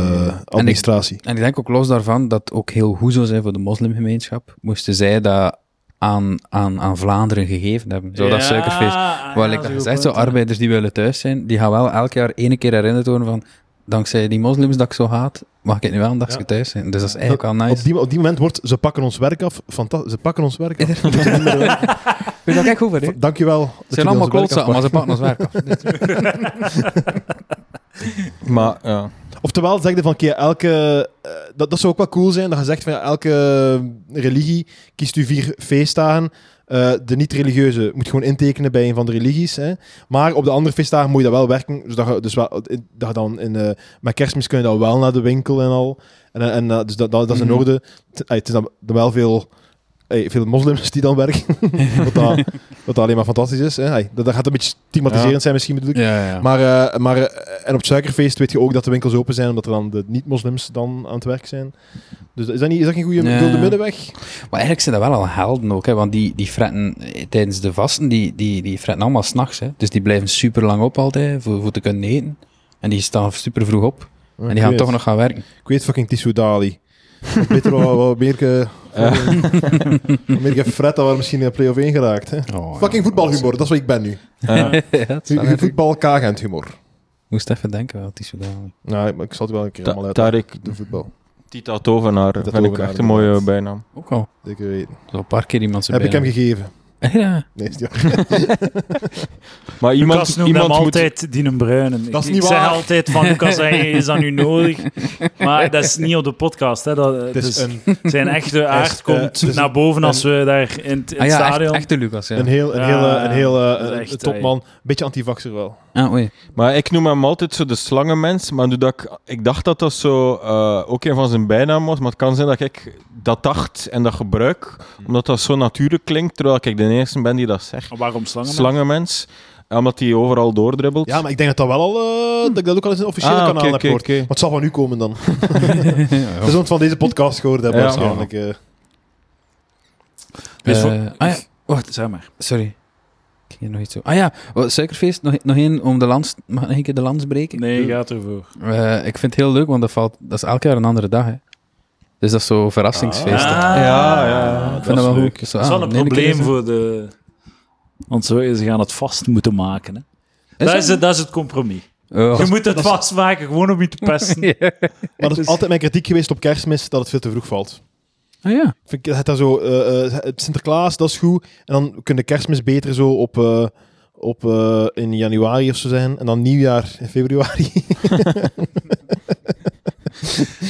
administratie.
En ik denk ook los daarvan dat het ook heel goed zou zijn voor de moslimgemeenschap, moesten zij dat aan, aan, aan Vlaanderen gegeven hebben. Zo dat suikerfeest. Wat ik dat gezegd, zo arbeiders die willen thuis zijn, die gaan wel elk jaar ene keer herinnerd worden van dankzij die moslims dat ik zo haat, mag ik nu wel een dagje
Ja.
thuis zijn. Dus dat is eigenlijk wel
op,
nice.
die, op die moment wordt ze pakken ons werk af. Fanta- ze pakken ons werk af. Ze moeten niet meer-
Weet je daar echt over, hè?
V- Dankjewel. dat
Het zijn
jullie
allemaal
onze werk
klotzakken, maar ze pakken ons werk af.
Maar ja.
Oftewel, zeg je van, oké, elke... eh, dat, dat zou ook wel cool zijn, dat je zegt van, ja, elke eh, religie kiest u vier feestdagen. Eh, de niet-religieuze moet gewoon intekenen bij een van de religies. Hè. Maar op de andere feestdagen moet je dat wel werken. Zodat je, dus wel, dat je dan in, eh, met kerstmis kun je dan wel naar de winkel en al. En, en, eh, dus dat, dat, dat is in
Mhm.
orde. T- ey, Het is dan dan wel veel, ey, veel moslims die dan werken. wat, dat, wat dat alleen maar fantastisch is. Hè. Ey, dat, dat gaat een beetje stigmatiserend zijn misschien, bedoel ik.
Ja, ja.
Maar, eh, maar eh, en op het suikerfeest weet je ook dat de winkels open zijn, omdat er dan de niet-moslims dan aan het werk zijn. Dus is dat, niet, is dat geen goede
Nee.
gulden middenweg?
Maar eigenlijk zijn dat wel al helden ook, hè, want die, die fretten eh, tijdens de vasten, die, die, die fretten allemaal s'nachts. Dus die blijven super lang op altijd voor, voor te kunnen eten. En die staan super vroeg op.
Ja,
En
ik
die gaan
weet
toch
het.
nog gaan werken.
Ik weet fucking Tissou Dali. Had Beter wel wat meer... ge- wat meer gefret, dan waren we misschien in play-off 1 geraakt. Hè? Fucking voetbalhumor, dat is wat ik ben nu.
Ja.
Hu- hu- Voetbal kagent humor.
Moest even denken wel, Tissou Dali.
Nou, ik- maar ik zal het wel een keer
Ta-
allemaal uit.
Tarek
De voetbal.
Tita Tovenaar
Tita
vind ik
Tovenaar,
echt een mooie
inderdaad.
bijnaam.
Ook al.
Zeker weten.
Zo een paar keer iemand zijn
Heb ik hem
bijnaam.
gegeven?
Ja.
Nee, is die-
Maar iemand,
Lucas noemt
iemand
hem
moet...
altijd Dien een Bruinen.
Dat is
ik
niet
ik
waar.
zeg altijd van Lucas, hey, is dat nu nodig? Maar dat is niet op de podcast. Hè. Dat,
Het is
dus
een,
Zijn echte
het
aard
is, eh, het
komt
is
naar boven als
een-
we daar in het, in het
Ah ja, echt,
stadion...
echte Lucas, ja.
een heel, een
Ja,
heel, eh, een heel eh,
dat is echt,
een topman. Beetje antivaxer wel.
Ah, oei.
Maar ik noem hem altijd zo de slangenmens, maar nu dat ik, ik dacht dat dat zo eh, ook een van zijn bijnaam was, maar het kan zijn dat ik dat dacht en dat gebruik, omdat dat zo natuurlijk klinkt, terwijl ik de eerste ben die dat zegt.
Waarom slangen?
Slangenmens, eh, omdat hij overal doordribbelt.
Ja, maar ik denk dat dat wel al... eh, dat ik dat ook al eens een officiële
Hm. Ah,
kanaal
oké,
heb
oké,
gehoord.
oké.
Maar het zal van u komen dan.
Ja,
Dat is ons van deze podcast gehoord hebben
Ja.
waarschijnlijk. eh.
Dus voor-
Eh, ah, ja. Wacht,
Zeg maar.
sorry. Ik ging nog iets zo. Ah ja, oh, suikerfeest, nog, nog één om de lans... Mag ik nog een keer de lans breken?
Nee, gaat ervoor.
Eh, ik vind het heel leuk, want dat, valt, dat is elk jaar een andere dag. Hè. Dus dat is zo verrassingsfeest.
Ah.
ja, ja.
ik vind dat wel ah, leuk.
Dat is wel een probleem voor de... Want zo, ze gaan het vast moeten maken. Hè. dat, is het, dat is het compromis.
Oh,
Je moet het vastmaken, gewoon om je te pesten.
Maar dat is altijd mijn kritiek geweest op kerstmis, dat het veel te vroeg valt.
Ah ja.
Ik Vind ik het daar zo, eh, eh, Sinterklaas, dat is goed. En dan kunnen kerstmis beter zo op, eh, op eh, in januari of zo zijn. En dan nieuwjaar in februari.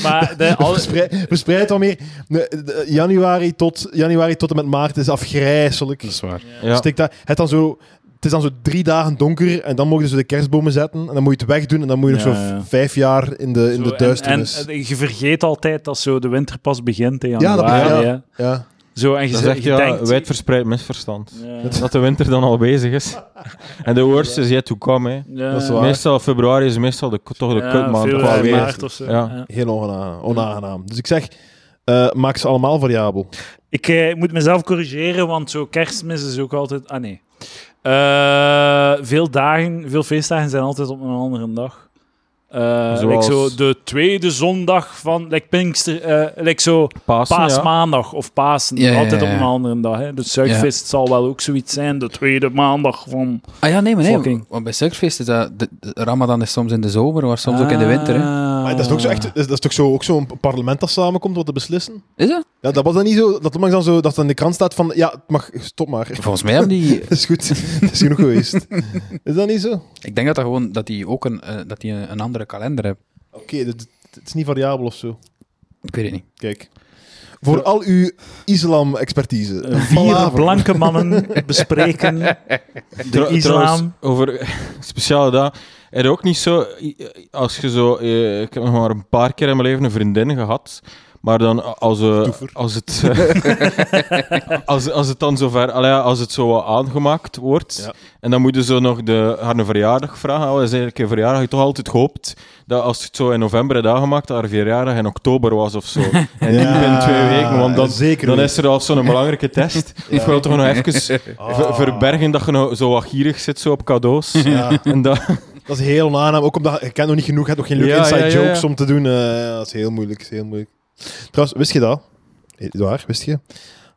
Maar de, al-
Verspreid, verspreid dan meer. Nee, de- eh, januari, tot, januari tot en met maart is afgrijzelijk.
Dat is waar.
Ja.
Stik daar, het, dan zo, het is dan zo drie dagen donker en dan mogen ze de kerstbomen zetten. En dan moet je het wegdoen en dan moet je nog
Ja,
zo
ja.
v- vijf jaar in de,
Zo,
in de
en-
duisternis.
En, eh, je vergeet altijd dat zo de winter pas begint in
Ja, dat
januari.
begrijp ik.
hè.
ja.
Zo, en je,
Dat is
zegt-
echt
je
ja,
denkt...
wijdverspreid misverstand.
Ja.
Dat de winter dan al bezig is. En de worst is yet to come, hè.
Ja.
dat is waar.
Meestal februari is meestal de, toch de
Ja,
kutmaand
veel,
qua
eh,
weer.
maart of zo.
Ja.
Ja.
Heel onaangenaam. onaangenaam. Dus ik zeg, eh, maak ze allemaal variabel.
Ik eh, moet mezelf corrigeren, want zo kerstmis is ook altijd... Ah, nee. Eh, veel dagen, veel feestdagen zijn altijd op een andere dag. Eh like
Zoals-
zo de tweede zondag van... Like Pinkster... eh, like zo
Pasen, ja.
paasmaandag of Pasen.
Ja, ja,
altijd
ja,
op een
ja.
andere dag. Hè. Dus Zuidfest zal wel ook zoiets zijn. De tweede maandag van...
Ah ja, nee, maar nee.
Fucking.
Want bij suikerfeest is dat... De, de- Ramadan is soms in de zomer, maar soms ook in de
Ah.
winter. Hè.
Maar Ah, dat is ook zo echt, dat is- dat is toch zo, ook zo'n parlement dat samenkomt wat te beslissen?
Is dat?
Ja, dat was dan niet zo, dat onlangs dan zo, dat in de krant staat van, ja, het mag, stop maar.
Volgens mij hebben die...
Dat is goed, dat is genoeg geweest. Is dat niet zo? Oké,
Ik denk dat, dat, gewoon, dat die ook een, eh, dat die een, een andere kalender hebben.
dat- het is niet variabel of zo.
Ik weet het niet.
Kijk. Voor al uw islam-expertise.
Eh, Vier
Palaver.
blanke mannen bespreken de
Trou- trouwens,
islam.
over speciale dagen. Er is ook niet zo, i- i- als je zo, eh, ik heb nog maar een paar keer in mijn leven een vriendin gehad, maar dan a- als, eh,
Toever.
als, het, eh, als, als het dan zover, allee, ja, als het zo wat aangemaakt wordt,
Ja.
en dan moet je zo nog de, haar een verjaardag vragen, oh, dat is eigenlijk een verjaardag, je toch altijd gehoopt dat als het zo in november had aangemaakt, dat haar verjaardag in oktober was of zo. En niet
Ja,
binnen twee weken, want dan,
zeker
dan
weten.
is er al zo'n belangrijke test. Ik wil toch nog even ver-
Ah.
verbergen dat je nou zo wat gierig zit zo op cadeaus.
Ja,
En dat,
dat is heel onaangenaam. Ook omdat je kent nog niet genoeg, je hebt nog geen leuke
Ja,
inside
ja, ja, ja.
jokes om te doen. Eh, dat is heel moeilijk, is heel moeilijk. Trouwens, wist je dat? Eh, Waar, wist je?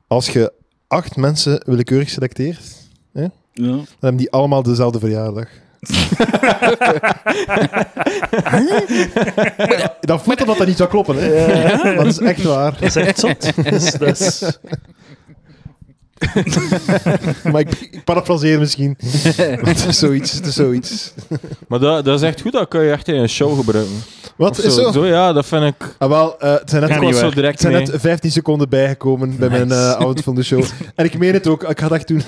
Als je acht mensen willekeurig selecteert,
Ja.
Dan hebben die allemaal dezelfde verjaardag. Dan voelt dat dat niet zou kloppen, hè? Maar dat is echt waar.
Dat is echt zot. Dus, dat is-
maar ik, ik parafraseer misschien. Want het is zoiets, het is zoiets.
Maar dat, dat is echt goed, dat kun je echt in een show gebruiken.
Wat
Of
is zo?
Ja, dat vind ik...
Ah, wel, eh, het zijn net,
Ja,
Ik
niet waar.
was zo
het
direct
zijn
mee.
net 15 seconden bijgekomen bij mijn eh outfit van de show. En ik meen het ook, ik ga dat echt doen.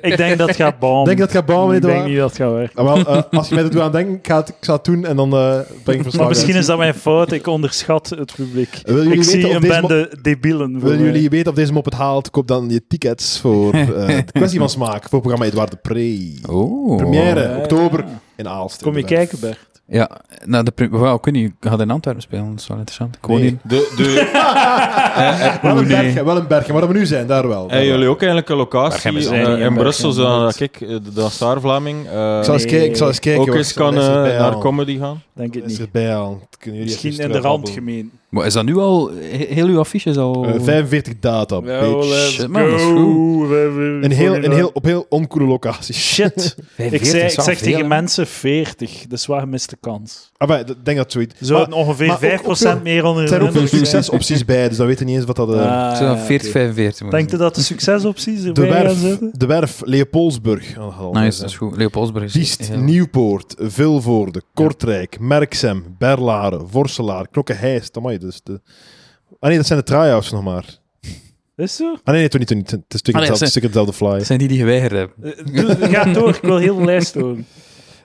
Ik denk dat het gaat bom.
Ik denk dat gaat bouwen,
ik
meneer
denk
de Waal.
niet dat het gaat werken.
Ah, wel, eh, als je mij er doet aan denken, ik ga het, ik zal het doen en dan eh breng ik verslag
Maar misschien
uit.
is dat mijn fout. Ik onderschat het publiek.
Willen jullie
Ik zie
weten of
een
deze
bende debielen. voor eh,
Willen
mij.
jullie weten of deze mop het haalt, koop dan je tickets voor eh de kwestie van smaak voor het programma Edouard de Pre.
Oh.
Première, oktober in Aalst.
Kom je kijken, Bert?
Ja, nou, de prim- wauw, kun je gaat in Antwerpen spelen, dat is wel interessant. Ik woon
Nee.
hier.
De, de,
Wel een
Oeh, nee.
bergen, wel een bergen. Waar we nu zijn, daar wel. Daar
en
wel.
jullie ook eigenlijk een locatie
we zijn
eh,
niet in
in,
Bergen,
Brussel,
nooit.
zodat ik, eh, dat Saar Vlaming, eh,
Ik zal eens
Nee.
kijken. Ik zal eens kijken
ook
hoor.
eens
Ik zal
kan
eens
eh,
erbij
naar
halen.
comedy gaan.
Denk het
Is
niet.
erbij al. Dat kunnen jullie
Misschien
even
in de
terugbabbelen.
rand gemeen.
Maar is dat nu al, he- heel uw affiche is al...
Eh, 45 data,
eh,
bitch.
Shit, man, dat is goed.
Een heel, een heel, op heel oncoole locaties.
Shit. Ik,
45
zei, ik
is wel
zeg
veel,
tegen
hè.
mensen 40. Dat is waar gemiste kans.
Ah, maar ik denk dat zoiets.
Zo
Maar
ongeveer
maar ook-
5%
ook-
meer onder
er zijn ook
de
veel
indruk zijn.
succesopties bij, dus dan weten we niet eens wat dat... eh,
Ah,
Zo'n
oké.
40, 45. moet
Denk je
zijn.
dat de succesopties
de,
erbij gaan
werf,
zitten?
de Werf, Leopoldsburg. Oh, dat had al
Nice,
gezegd.
dat is goed. Leopoldsburg is
Diest,
heel-
Nieuwpoort, Vilvoorde, Kortrijk, Merksem, Berlaren, Vorselaar, Klokkenheist. Amai, dus de... Ah nee, dat zijn de try-outs nog maar.
Is zo?
Ah nee, nee, toch niet, toch niet. Het is stuk
Ah, nee,
hetzelfde,
dat
stuk hetzelfde fly.
Dat zijn die die geweigerd hebben.
Eh, doe- Ga door, ik wil heel de lijst horen.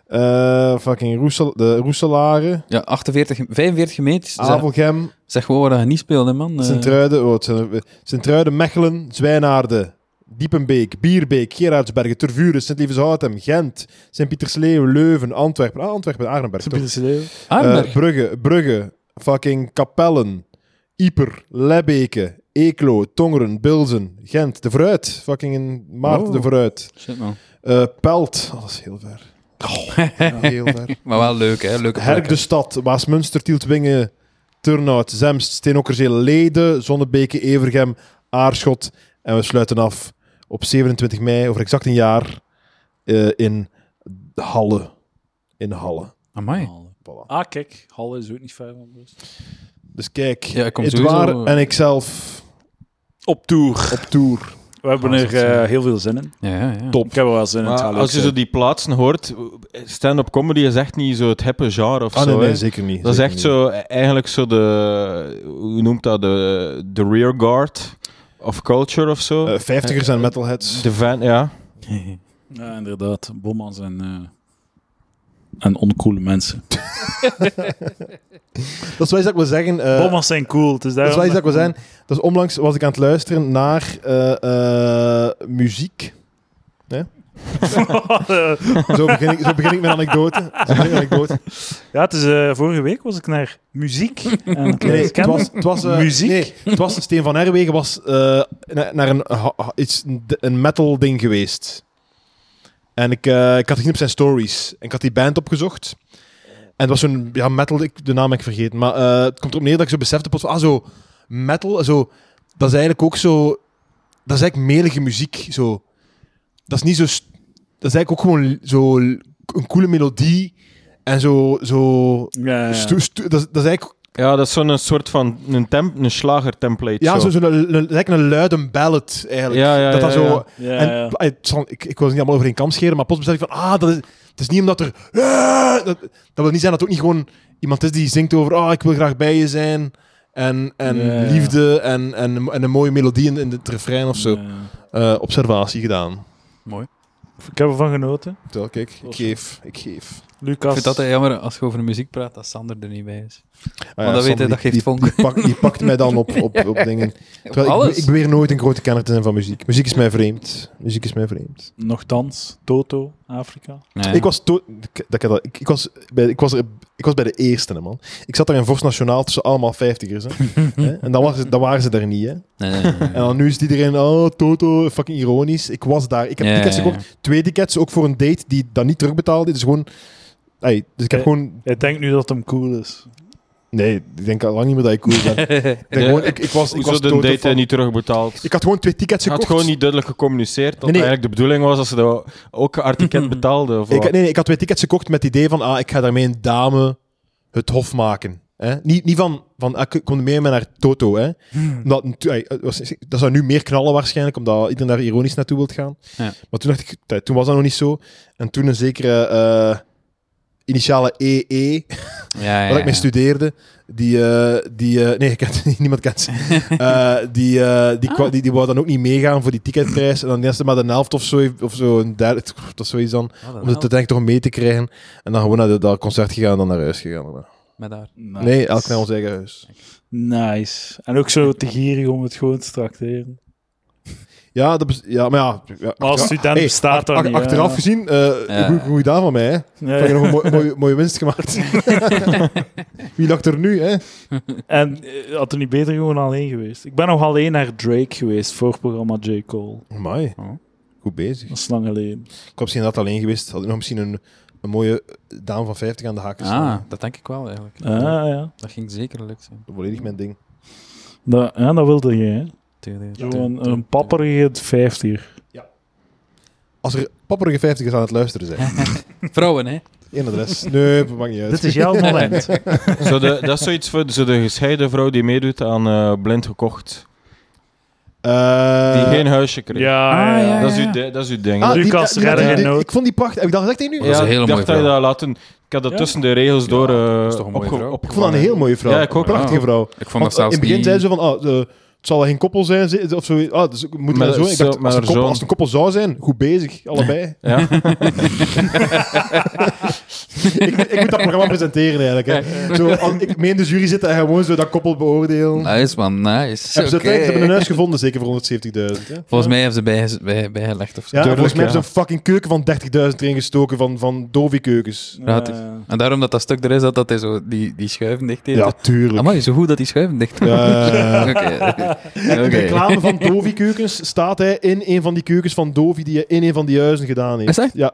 Eh, fucking Roesel, de Roeselaren,
Ja, 48, 45 gemeentes.
Ah,
Zeg-
Avelgem,
Zeg gewoon dat je niet speelde, man. Eh,
Sint-Truiden, oh, het zijn er- Sint-Truiden, Mechelen, Zwijnaarden, Diepenbeek, Bierbeek, Gerardsbergen, Tervuren, Sint-Lievens-Houtem, Gent, Sint-Pietersleeuw, Leuven, Antwerpen. Ah, Antwerpen, Arenberg toch?
Aardenberg.
Eh, Brugge, Brugge, fucking Kapellen, Ieper, Lebbeke, Eeklo, Tongeren, Bilzen, Gent, De Vooruit, fucking in maart
Oh.
De Vooruit,
Shit, man.
Eh, Pelt, oh, dat is heel ver. Oh. Ja, heel ver.
Maar wel leuk, hè? Leuke
Herk de
plekken.
Stad, Waasmunster, Tieltwingen, Turnhout, Zemst, Steenokkerzee, Leiden, Zonnebeke, Evergem, Aarschot. En we sluiten af op 27 mei, over exact een jaar, eh, in Halle. In Halle.
Amai.
Voilà.
Ah, kijk, Halle is ook niet ver van Brussel.
Dus kijk,
Ja, ik kom
Edouard
sowieso-
en ikzelf
Op tour.
op tour.
We hebben er eh, heel veel zin in.
Ja, ja, ja.
Top. Ik heb er wel zin in. het
Maar
gaat leuk
als je zo
zijn.
die plaatsen hoort, stand-up comedy is echt niet zo het hippe genre of
Ah,
zo.
nee, nee,
hè.
zeker niet.
dat is
zeker
echt
niet.
zo, e- eigenlijk zo de, hoe noemt dat, de, de rear guard of culture of zo.
Eh, Vijftigers en metalheads.
de van, ja.
Ja, inderdaad. Bommans en, eh, en oncoole mensen.
Dat is wel iets dat ik wil zeggen. eh,
Bommans zijn cool, dus
dat is wel
daarom...
iets dat ik wil zeggen. Dat is onlangs was ik aan het luisteren naar eh, eh, muziek. Zo begin, ik, zo begin ik mijn anekdote. Zo begin ik mijn anekdote.
ja, het is, eh, vorige week was ik naar muziek. En
Nee, nee, het was, het was, eh,
Muziek?
Nee, het was Steen van Herwegen was eh, na- naar een, ha- ha- iets, een metal ding geweest. En ik, eh, ik had gezien op zijn stories. En ik had die band opgezocht. En het was zo'n ja, metal, ik, de naam heb ik vergeten. Maar eh, het komt erop neer dat ik zo besefte, plots, van, ah zo, metal, zo, dat is eigenlijk ook zo, dat is eigenlijk melige muziek. Zo. Dat is niet zo, st- dat is eigenlijk ook gewoon l- zo l- een coole melodie. En zo, zo
Ja, ja.
stu- stu- dat, is- dat is eigenlijk
Ja, dat is zo'n soort van een, temp, een slager-template.
ja, zo.
zo.
Zo, een, een, lijkt een luide ballad eigenlijk.
Ja, ja,
dat dat
ja,
zo,
ja.
Ja,
En,
ja.
ah, het zal- ik, ik wil het niet allemaal over één kam scheren, maar plots besef ik van, ah, dat is, het is niet omdat er... Ah, dat, dat wil niet zijn dat het ook niet gewoon iemand is die zingt over, ah, ik wil graag bij je zijn. En, en
Ja, ja.
liefde en, en, en een mooie melodie in, in het refrein of zo.
Ja.
Eh, observatie gedaan.
Ik heb ervan genoten.
Zo, kijk, ik geef, ik geef.
Ik
Lucas.
vind het altijd jammer als je over muziek praat dat Sander er niet bij is.
Ah
Want dan weet
Sander,
je, dat
die-
geeft vonk.
Die, pak, die pakt mij dan op, op, op dingen. Terwijl ik-
alles?
Ik, beweer nooit een grote kenner te zijn van muziek. Muziek is mij vreemd. Muziek is mij vreemd.
Nochtans, Toto, Afrika.
Ja.
Ik was, to- ik- dat, ik- dat- ik, ik, was bij, ik, was er, ik was bij de eerste, hè, man. Ik zat daar in Vorst Nationaal tussen allemaal vijftigers. Hè. Hè? en dan, was, het- dan waren ze daar niet, hè.
Nee, nee, nee, nee.
En dan nu is iedereen, oh, Toto, fucking ironisch. Ik was daar. Ik heb
Ja,
tickets
ja, ja.
gekocht. Twee tickets, ook voor een date die dan niet terugbetaalde. Dus gewoon... Ey, dus ik heb
Eh.
gewoon...
Ik denk nu dat hem cool is.
Nee, ik denk al lang niet meer dat ik cool ben. ik, denk
Nee.
gewoon, ik, ik was, ik
Hoezo
was
de
Toto
date
fan.
niet terugbetaald?
Ik had gewoon twee tickets
Ze had
gekocht.
gewoon niet duidelijk gecommuniceerd dat
Nee, nee.
eigenlijk de bedoeling was dat ze dat ook artiket betaalden. Of
Ik,
wat.
nee, nee, ik had twee tickets gekocht met het idee van, ah, ik ga daarmee een dame het hof maken. Hè? Niet, niet van, van ah, k- kom mee met naar Toto. Hè?
Hmm.
Omdat, natu- ey, het was- dat zou nu meer knallen waarschijnlijk, omdat iedereen daar ironisch naartoe wilt gaan.
Ja.
Maar toen dacht ik, tij, toen was dat nog niet zo. En toen een zekere eh, initiale EE,
Ja, ja,
waar ik mee
ja.
studeerde, die... eh, die eh, nee, ik kent, niemand kent ze. Eh, die, eh,
Ah.
die, kwa- die, die wou dan ook niet meegaan voor die ticketprijs. En dan eerst maar de helft of zo, heeft- of zo een derde, dat is zoiets
Ah,
dan. Om het uiteindelijk toch mee te krijgen. En dan gewoon naar de- dat concert gegaan en dan naar huis gegaan.
Met haar.
Nice.
Nee, elk naar ons eigen huis.
Nice. En ook zo te gierig om het gewoon te tracteren.
Ja, dat bes- ja maar ja. ja
Maar als
achter-
student
Hey,
bestaat dat
ach-
niet.
Achteraf
hè.
gezien, eh
Ja.
goed, goed gedaan van mij. Hè.
Nee.
Heb je nog een mooi- mooie, mooie winst gemaakt. Wie lacht er nu, hè?
En eh, had er niet beter gewoon alleen geweest. Ik ben nog alleen naar Drake geweest voor het programma J. Cole.
Amai.
Oh.
Goed bezig.
Dat is lang geleden.
Ik was misschien dat alleen geweest. Had ik nog misschien een, een mooie eh, dame van 50 aan de haken staan.
Ah, dat denk ik wel eigenlijk.
Ah, ja.
Dat ging zeker lukken. zijn.
Volledig mijn ding.
Dat, ja, dat wilde je, hè?
Tuurlijk.
Zo
eh,
een, een papperige vijftiger.
Als er papperige 50 aan het luisteren zijn.
Vrouwen, hè?
Eén adres. Nee, dat maakt niet uit.
Dit is jouw moment. Ah,
Zo de, dat is zoiets voor zo de gescheiden vrouw die meedoet aan eh, blind gekocht.
Eh,
Die geen huisje kreeg.
Ja,
Ah,
ja,
ja,
Dat is uw, de- dat is uw ding.
ah, die-
Lucas
die- die-
redder in
die-
nood.
Ik vond die prachtig. Heb ik dat gezegd tegen u?
Ja. dat is een hele
ik
mooie
dacht dat je
vrouw.
dat laten... Ik had dat
Ja.
tussen de regels door eh
dat is toch een mooie
opge-
vrouw?
Ik vond dat een heel mooie vrouw.
Ja, ik ook.
Prachtige vrouw.
Ik vond dat
Want, eh,
zelfs
in het begin
niet...
zeiden ze van, ah, eh, het zal wel geen koppel zijn, ze- of zo. Ah, dus moet
Maar
maar zo. Ik
zo-
dacht,
maar
als, een koppel,
zo'n-
als het een koppel zou zijn, goed bezig, allebei.
Ja.
ik, ik moet dat programma presenteren eigenlijk. Hè. Zo, al- ik meen de jury zitten en gewoon zo dat koppel beoordelen.
Nice, man, nice.
Hebben
Oké.
ze, uiteindelijk- ze hebben een huis gevonden, zeker voor 170.000. Hè?
Volgens mij hebben ze bijge- bij- bijgelegd of zo.
Ja, en volgens
Tuurlijk,
mij
ja.
hebben ze een fucking keuken van 30.000 erin gestoken van, van Dovi-keukens.
Raad ik. En daarom dat dat stuk er is, dat, dat hij zo die, die schuiven dicht deed.
Ja, tuurlijk.
Amai, zo goed dat die schuiven dicht deed.
Ja.
Oké. Oké.
De reclame van Dovi-keukens staat hij in een van die keukens van Dovi die hij in een van die huizen gedaan heeft.
Is dat? Oh,
Ja.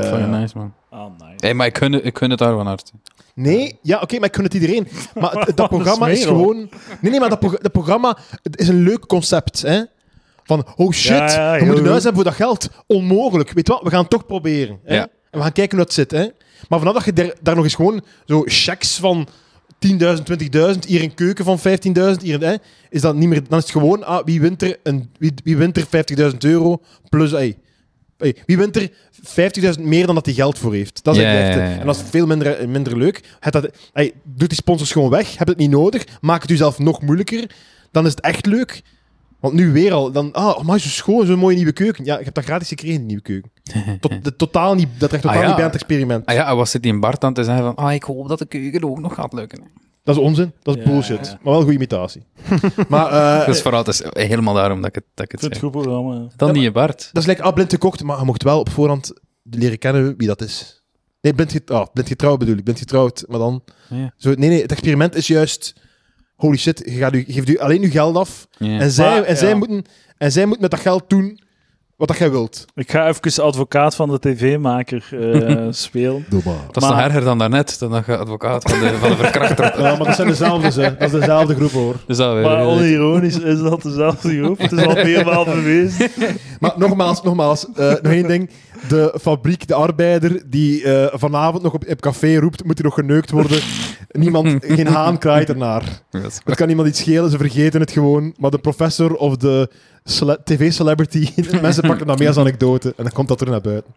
eh,
Fucking nice, man.
Ah, nice.
Hey, maar ik gun, ik gun het daar van harte.
Nee, ja, oké, maar ik gun het iedereen. Maar het- dat programma is
smerel.
gewoon... Nee, nee, maar dat, pro- dat programma het is een leuk concept, hè. Van, oh shit,
Ja, ja, heel
we moeten
goed.
een huis hebben voor dat geld. Onmogelijk. Weet je wat, we gaan het toch proberen. Hè?
Ja.
En we gaan kijken hoe dat zit, hè. Maar vanaf dat je daar, daar nog eens gewoon zo checks van 10.000, 20.000, hier een keuken van 15.000, hier een... Hè, is dat niet meer... Dan is het gewoon, ah, wie wint er, een, wie, wie wint er 50.000 euro plus... Hey, Hey, wie wint er 50.000 meer dan dat hij geld voor heeft? Dat is
Ja,
het echte.
ja, ja, ja.
En dat is veel minder, eh, minder leuk. Het dat, hey, doet die sponsors gewoon weg. Heb het niet nodig. Maak het jezelf nog moeilijker. Dan is het echt leuk. Want nu weer al. Dan, ah, maar zo schoon, zo'n mooie nieuwe keuken. Ja, ik heb dat gratis gekregen, die nieuwe keuken. Tot, de, totaal niet, dat recht totaal
Ah, ja.
niet bij aan het experiment.
Ah ja, en was zit die in Bart aan te zeggen van... Ah, ik hoop dat de keuken ook nog gaat lukken.
Dat is onzin. Dat is
Ja,
bullshit.
ja.
Maar wel een goede imitatie. maar eh,
Dat is vooral dat is helemaal daarom dat ik het, dat
Ik
ik het
vind het
zeg.
goed programma.
Dan die in Bart.
dat is lekker ah, blind gekocht. Maar je mocht wel op voorhand leren kennen wie dat is. Nee, blind, get, ah, blind getrouwd bedoel ik. Blind getrouwd. Maar dan...
Ah, Ja.
Zo, nee, nee, het experiment is juist. Holy shit, je gaat u, geeft u alleen uw geld af.
Ja.
En, zij,
Maar,
en, zij
ja.
moeten, en zij moeten met dat geld doen wat dat jij wilt.
Ik ga even advocaat van de tv-maker eh, spelen.
Doe maar.
Dat is nog
Maar-
erger dan daarnet, dan dat je advocaat van de, van de verkrachter.
Ja, maar dat zijn dezelfde, ze. Dat is dezelfde groep, hoor.
Dus dat weer,
Maar
eh,
onironisch is dat dezelfde groep. Het is al meermaal geweest.
Maar nogmaals, nogmaals, eh, nog één ding. De fabriek, de arbeider die eh, vanavond nog op, op café roept, moet er nog geneukt worden. Niemand, geen haan kraait ernaar.
dat is-
Het kan niemand iets schelen, ze vergeten het gewoon. Maar de professor of de cele- tv-celebrity, mensen pakken dat mee als anekdote. En dan komt dat er naar buiten.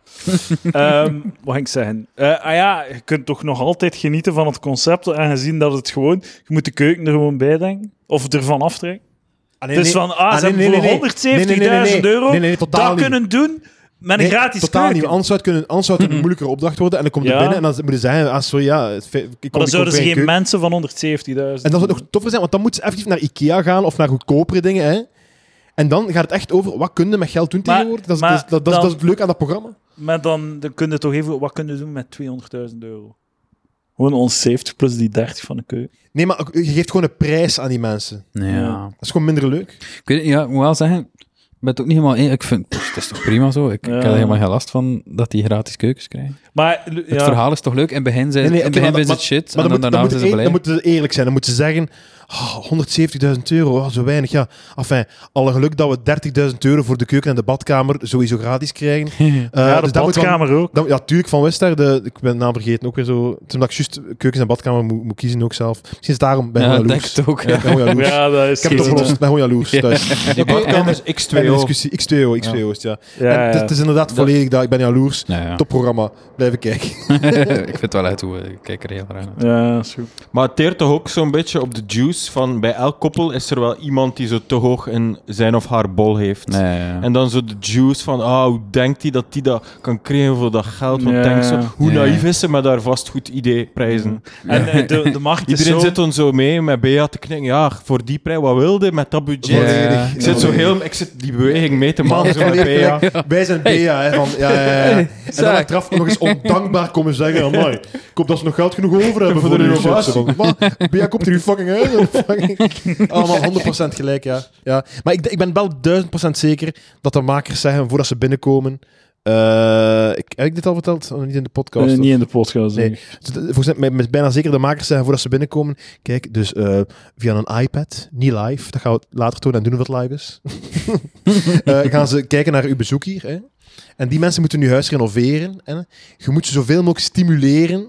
Ehm, wat ging ik zeggen? Eh, ah ja, je kunt toch nog altijd genieten van het concept, aangezien dat het gewoon... Je moet de keuken er gewoon bij denken. Of ervan aftrekken. het is van, ah,
Ah,
ze
nee,
hebben
nee, nee, nee.
voor 170.000
Nee, nee, nee, nee.
euro
Nee, nee, nee, totaal
dat
niet.
kunnen doen met een
Nee,
gratis
totaal
keuken.
niet. Anders zou het, kunnen, anders zou het een moeilijkere opdracht worden. En dan komt
Ja.
er binnen en dan moeten ze zeggen... Ah, sorry, ja, het fe- ik kom- ik
Maar
kom
dan zouden ze
bij
geen
een keuken.
mensen van 170.000...
En dat zou nog toffer zijn, want dan moeten ze effectief naar Ikea gaan of naar goedkopere dingen. Hè? En dan gaat het echt over wat kun je met geld doen
Maar-
tegenwoordig. Dat is,
maar
dat, is- dat, is-
dan-
dat is het leuke aan dat programma.
Maar dan, dan kun je toch even... Wat kun je doen met 200.000 euro? Gewoon ons 70 plus die 30 van de keuken.
Nee, maar ook- je geeft gewoon een prijs aan die mensen.
Ja.
Dat is gewoon minder leuk.
Ik weet, niet, ja, ik moet wel zeggen, ben het ook niet helemaal in. Ik vind, pff, het is toch prima zo? Ik, ik
Ja.
heb er helemaal geen last van dat die gratis keukens krijgen.
Maar,
Het verhaal is toch leuk? In het begin zijn
Nee, nee,
in het
oké,
begin
maar-
is het shit,
Maar
en
dan,
dan,
moet, dan,
daarna
moet
zijn ze
het eer-
blij.
dan moeten ze eerlijk zijn. Dan moeten ze zeggen, ah, 170.000 euro, ah, zo weinig. Ja. Enfin, alle geluk dat we 30.000 euro voor de keuken en de badkamer sowieso gratis krijgen. Eh,
ja, de
dus dat moet
badkamer ook.
Dan, ja, tuurlijk, van Wester. De, ik ben de naam vergeten, ook weer zo. Toen dat ik juist keukens en badkamer moet, moet kiezen ook zelf. Misschien is het daarom, ben ik
Ja,
gewoon
ik denk
jaloers.
het ook.
Ja, ik ben gewoon jaloers.
Ja, dat
Ik
is
heb het
geen-
opgelost, ik ben gewoon jaloers thuis.
Die
Oké,
badkamer
dus
dan-
is
Einde
X2O.
discussie. X2O, X2O is het, ja. En
Ja,
het, is- het
ja.
is inderdaad volledig dat, ik ben jaloers.
Nou ja.
Topprogramma, blijven kijken.
ik vind het wel uit hoe eh, ik kijk er heel graag naar.
Ja, is goed.
Maar het teert toch ook zo'n beetje op de juice van bij elk koppel is er wel iemand die zo te hoog in zijn of haar bol heeft.
Nee, ja.
En dan zo de juice van, ah, hoe denkt hij dat hij dat kan krijgen voor dat geld? Want
Ja.
denk zo, hoe
Ja. Mm.
naïef is ze met daar vast goed idee prijzen?
En eh, de, de markt is
Iedereen
zo...
zit dan zo mee met Bea te knikken. Ja, voor die prijs, wat wilde met dat budget?
Ja.
Ik zit zo heel, ik zit die beweging mee te
Man,
maken.
zo
zo met
leer-
Bea.
Wij zijn Bea, hè, van, ja, ja, ja. En dan
Zaak.
achteraf nog eens ondankbaar komen zeggen, amai, ik hoop dat ze nog geld genoeg over hebben voor,
de
de
renovatie.
renovatie. Wat? Bea komt hier fucking uit. Fucking- Allemaal 100% gelijk, ja. ja. Maar ik, ik ben wel 1000% zeker dat de makers zeggen, voordat ze binnenkomen, eh, ik, heb ik dit al verteld? Oh, niet in de podcast.
Eh,
of-
niet in de podcast.
Nee.
denk ik.
dus, eh, Volgens mij met, met bijna zeker de makers zeggen voordat ze binnenkomen. Kijk, dus eh, via een iPad, niet live. Dat gaan we later tonen en doen wat live is. Eh, gaan ze kijken naar uw bezoek hier. Hè? En die mensen moeten hun huis renoveren. Hè? Je moet ze zoveel mogelijk stimuleren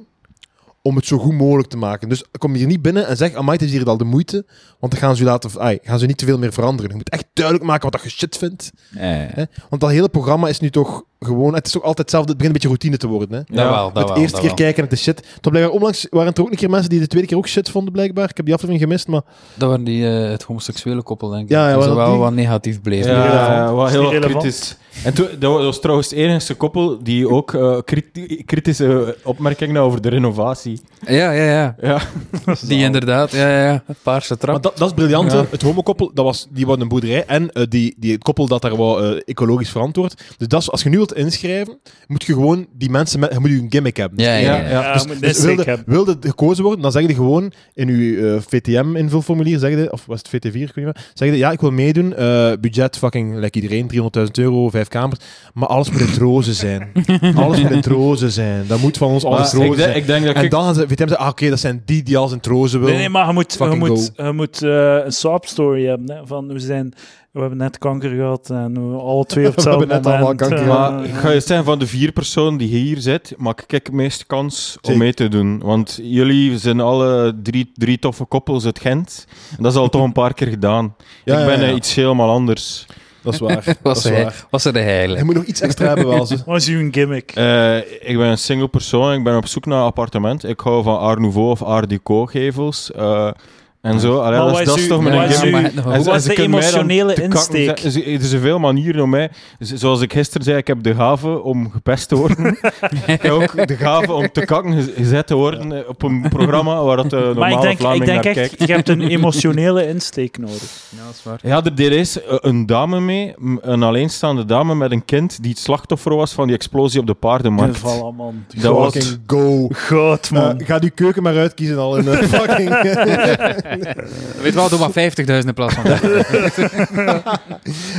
om het zo goed mogelijk te maken. Dus kom hier niet binnen en zeg, amai, het is hier al de moeite. Want dan gaan ze, u laten, ai, gaan ze niet te veel meer veranderen. Je moet echt duidelijk maken wat dat je shit vindt.
Eh,
Hè? Want dat hele programma is nu toch gewoon... Het is toch altijd hetzelfde. Het begint een beetje routine te worden. Hè?
Dat wel, dat
het
wel.
eerste
dat
keer
wel.
kijken en het is shit. Toen blijkbaar onlangs waren er ook een keer mensen die de tweede keer ook shit vonden, blijkbaar. Ik heb die aflevering gemist, maar...
Dat waren die, eh, het homoseksuele koppel, denk ik.
Ja, ja,
die
was
zo
dat
wel
die?
wat negatief bleef.
Ja,
relevant.
wel
Is
heel
niet relevant.
kritisch. En toen, dat was- dat was trouwens het enige koppel die ook eh, kriti- kritische opmerkingen over de renovatie.
ja, ja. ja.
Ja.
Die inderdaad, ja, ja, ja. Paarse trap.
Maar dat, dat is briljant. hè.
Ja.
Het homokoppel, dat was, die wou een boerderij. En eh, die, die, het koppel dat daar wou eh, ecologisch verantwoord. Dus dat is, als je nu wilt inschrijven, moet je gewoon die mensen... Met, je moet je een gimmick hebben.
ja, ja,
Ja,
ja. ja.
ja.
Ja,
Dus,
Ah, maar
dus
dat is ik
wilde,
heb.
wilde het gekozen worden, dan zeg je gewoon in je eh, VTM-invulformulier, zeg je, of was het VT4, ik weet niet meer, zeg je, ja, ik wil meedoen, eh, budget fucking, like iedereen, 300.000 euro, vijf kamers, maar alles moet in roze zijn. alles moet in roze zijn. Dat moet van ons alles
Maar ik,
roze
denk-
zijn.
ik denk dat
En
ik...
dan gaan ze, VTM zegt, ah, oké, dat zijn die die alles in roze willen.
Nee, nee, maar je moet, je
Fucking
moet, je moet eh, een soap story hebben. Hè? Van, we, zijn, we hebben net kanker gehad en we alle twee op hetzelfde
hebben net
moment,
allemaal kanker
eh,
gehad.
Maar ik ga je zeggen, van de vier personen die hier zit, maak ik het meeste kans om
Zeker.
mee te doen. Want jullie zijn alle drie, drie toffe koppels uit Gent. En dat is al toch een paar keer gedaan.
Ja,
ik
ja,
ben
ja.
eh, iets helemaal anders.
Dat is waar. dat
Was,
is
hij,
waar.
was er de heilige.
Je moet nog iets extra hebben wel. ze.
Wat is uw gimmick?
Eh, ik ben een single persoon, ik ben op zoek naar een appartement. Ik hou van Art Nouveau of Art Deco gevels. eh, en zo. Allee,
Maar
dat,
wat
is, dat is
is uw-
toch
wat
mijn
is
gimmick.
uw-
maar-
En
hoe
ze-
was
en ze
de
kunnen mij dan
emotionele
te kakken
insteek?
zetten. Ze- Er zijn veel manieren om mij... z- Zoals ik gisteren zei, ik heb de gave om gepest te worden. ik heb ook de gave om te kakken gez- gezet te worden eh, op een programma waar dat de normale
Maar ik denk, ik
Vlaming
denk
naar
echt,
kijkt.
je hebt een emotionele insteek nodig.
Ja, dat is waar.
Ja, er, er is eh, een dame mee, m- een alleenstaande dame met een kind die het slachtoffer was van die explosie op de paardenmarkt.
Voilà, man.
Dat was-
Fucking go.
God, man.
Eh, ga die keuken maar uitkiezen al in eh, fucking...
Weet wel, doe maar 50.000 in plaats van
Want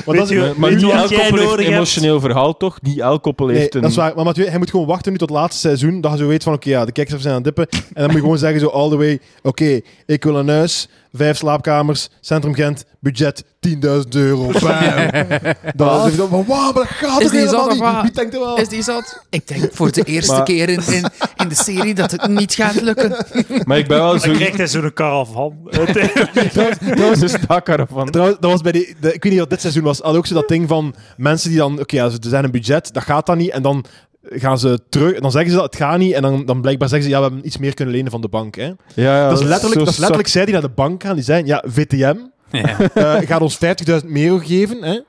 dat is-
je-
Maar, Eh, maar
Weet
niet
je
elk
wat jij
koppel heeft een
nodig hebt?
emotioneel verhaal, toch? Niet elk koppel
Nee,
heeft een...
dat is waar. Maar Mathieu, hij moet gewoon wachten nu tot het laatste seizoen, dat je zo weet van, oké, ja, de kijkers zijn aan het dippen. En dan moet je gewoon zeggen zo all the way, oké, ik wil een huis, vijf slaapkamers, Centrum Gent, budget 10.000 euro. Bam. Dan is het van, wauw, maar dat gaat
Is die
toch helemaal
zat of
niet?
wat?
Wie denkt er wel?
Is die zat? Ik denk voor de eerste keer in, in, in de serie dat het niet gaat lukken.
Maar ik ben wel zo...
Dan krijgt hij zo'n kar af hand. Ah,
Ze stak ervan.
Trouwens, dat was bij die, de, ik weet niet wat dit seizoen was, had ook zo dat ding van mensen die dan, oké, ja, ze- er zijn een budget, dat gaat dan niet, en dan gaan ze terug, dan zeggen ze dat het gaat niet, en dan, dan blijkbaar zeggen ze, ja, we hebben iets meer kunnen lenen van de bank, hè.
Ja, ja,
Dat is
zo
letterlijk, dat is letterlijk
zak-
zij die naar de bank gaan. Die zijn, ja, VTM eh, gaat ons 50.000 euro geven. Hè?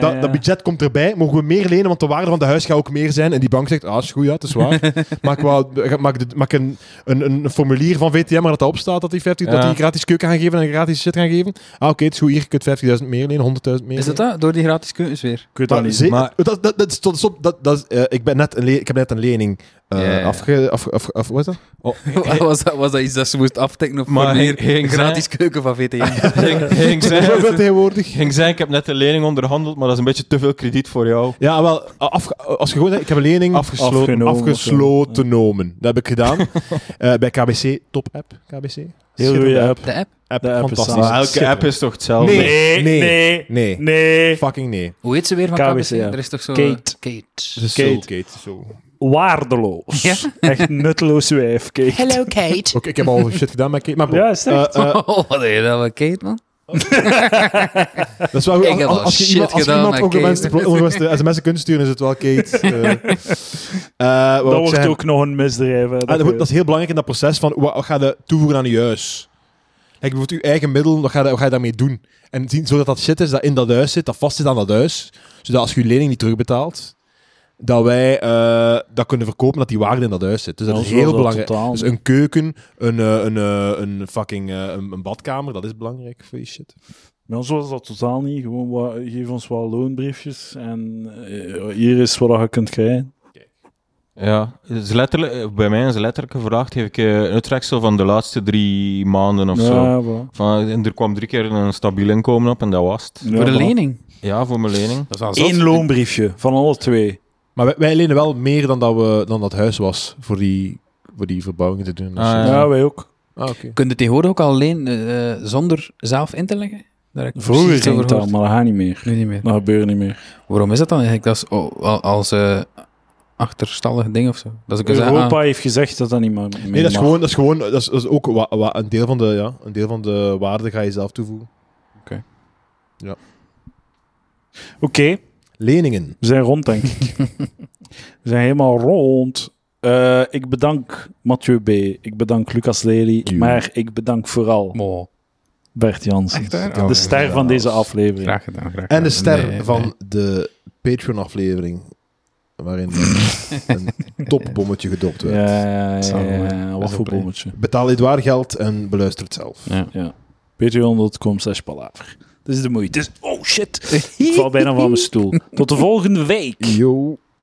Dat, dat budget komt erbij. Mogen we meer lenen, want de waarde van de huis gaat ook meer zijn. En die bank zegt, ah, is goed, ja, het is waar. maak wel, maak, de- maak een, een, een formulier van VTM waar dat op staat dat die, 50, dat
Ja.
die gratis keuken gaan geven en gratis shit gaan geven. Ah, oké, het is goed, hier, je kunt 50.000 meer lenen, 100.000 meer
Is dat dat? Door die gratis keukens weer?
Ik weet
maar,
dat niet.
zeker-
maar-
dat, dat, dat, is- dat, is op- dat, dat is, eh, ik, ben net een le- ik heb net een lening. eh,
Ja, ja.
afge... Af, af, af, wat is dat?
was, dat, was dat iets dat ze moest aftikken of
Maar
maar
hij- hij ging
gratis keuken van VTM?
Ging- ging
Hoeveel
zeggen-
tegenwoordig?
ging zeggen, ik heb net een lening onderhandeld, maar dat is een beetje te veel krediet voor jou.
Ja, wel, af, als je gewoon zegt, ik heb een lening
Afgesloten.
afgesloten,
Afgenomen of zo.
afgesloten genomen. Dat heb ik gedaan. Eh, bij KBC, top app, KBC.
Heel goede app.
De app?
app
De app is
fantastisch.
zalig.
Maar elke app
Schitterend.
is toch hetzelfde?
Nee.
Nee, nee, nee.
Nee. Fucking nee.
Hoe heet ze weer van
KBC,
KBC?
ja.
Er is toch zo... eh,
Kate.
Kate.
De
Kate.
Kate. Zo. Oké,
Waardeloos.
Ja.
Echt nutteloos wijf, kijk.
Hello, Kate.
ik heb al shit gedaan met Kate. Maar bon.
Ja, is het echt?
Eh, eh,
Oh, wat heet dat wel, Kate, man?
dat is wel goed.
Ik heb
Als,
al
als, je
shit
iemand, als je
gedaan
iemand
met
ongewenste,
Kate.
ongewenste sms'en kunt sturen, is het wel Kate. Eh, eh, wat
Dat
wou ik
wordt
zeggen?
ook nog een misdrijf. hè,
Ah,
dat
dat,
weet
dat is heel belangrijk in dat proces van wat, wat ga je toevoegen aan je huis? Kijk, bijvoorbeeld je eigen middel, wat ga, je, wat ga je daarmee doen? En zien, zodat dat shit is dat in dat huis zit, dat vast zit aan dat huis, zodat als je je lening niet terugbetaalt, dat wij eh, dat kunnen verkopen, dat die waarde in dat huis zit. Dus dat
Ja,
is
zo is
heel
dat
belangrijk.
totaal.
Dus een keuken, een, eh, een, eh, een fucking eh, een, een badkamer, dat is belangrijk voor je shit.
Bij ons was dat totaal niet. Gewoon, wat, geef ons wel loonbriefjes en eh, hier is wat je kunt krijgen.
Ja, het is letterlijk, eh, bij mij is het letterlijk gevraagd, geef ik eh, een uittreksel van de laatste drie maanden of zo.
Ja, voilà.
Van, en er kwam drie keer een stabiel inkomen op en dat was het.
Ja,
Voor de
voilà.
lening.
Ja, voor mijn lening.
Dat is
Eén loonbriefje van alle twee.
Maar wij, wij lenen wel meer dan dat, we, dan dat huis was voor die, voor die verbouwingen te doen.
Ah,
Ja,
ja.
wij ook.
Ah, oké.
Kun je tegenwoordig ook alleen eh, eh, zonder zelf in te leggen? Daar heb ik
Vroeger
precies
ging
over
het al,
gehoord.
maar dat gaat niet meer.
Nu niet meer.
Dat gebeurt niet meer.
Waarom is dat dan eigenlijk? Dat is oh, al- als eh achterstallig ding of zo. Dat is ook zeggen,
Europa
ah,
heeft gezegd dat dat niet meer
Nee, dat is gewoon, dat is gewoon dat is, dat is ook wa- wa- een, deel van de, ja, een deel van de waarde ga je zelf toevoegen.
Oké,
Leningen.
we zijn rond, denk ik. we zijn helemaal rond. Eh, ik bedank Mathieu B. Ik bedank Lucas Lely.
You.
Maar ik bedank vooral
mooi.
Bert Jansen.
Echt waar?
de
Oh,
ster van deze aflevering.
Graag gedaan, graag gedaan.
En de ster
Nee,
van
nee.
de Patreon-aflevering, waarin een topbommetje gedopt
Ja,
werd.
ja, ja, ja,
Samen,
ja. Wat
best
voor
wel
bommetje.
Betaal dit waar geld en beluister het zelf.
Ja.
patreon.com slash palaver. Dit is de moeite. Dit is- Oh shit, ik val bijna van mijn stoel. Tot de volgende week.
Yo.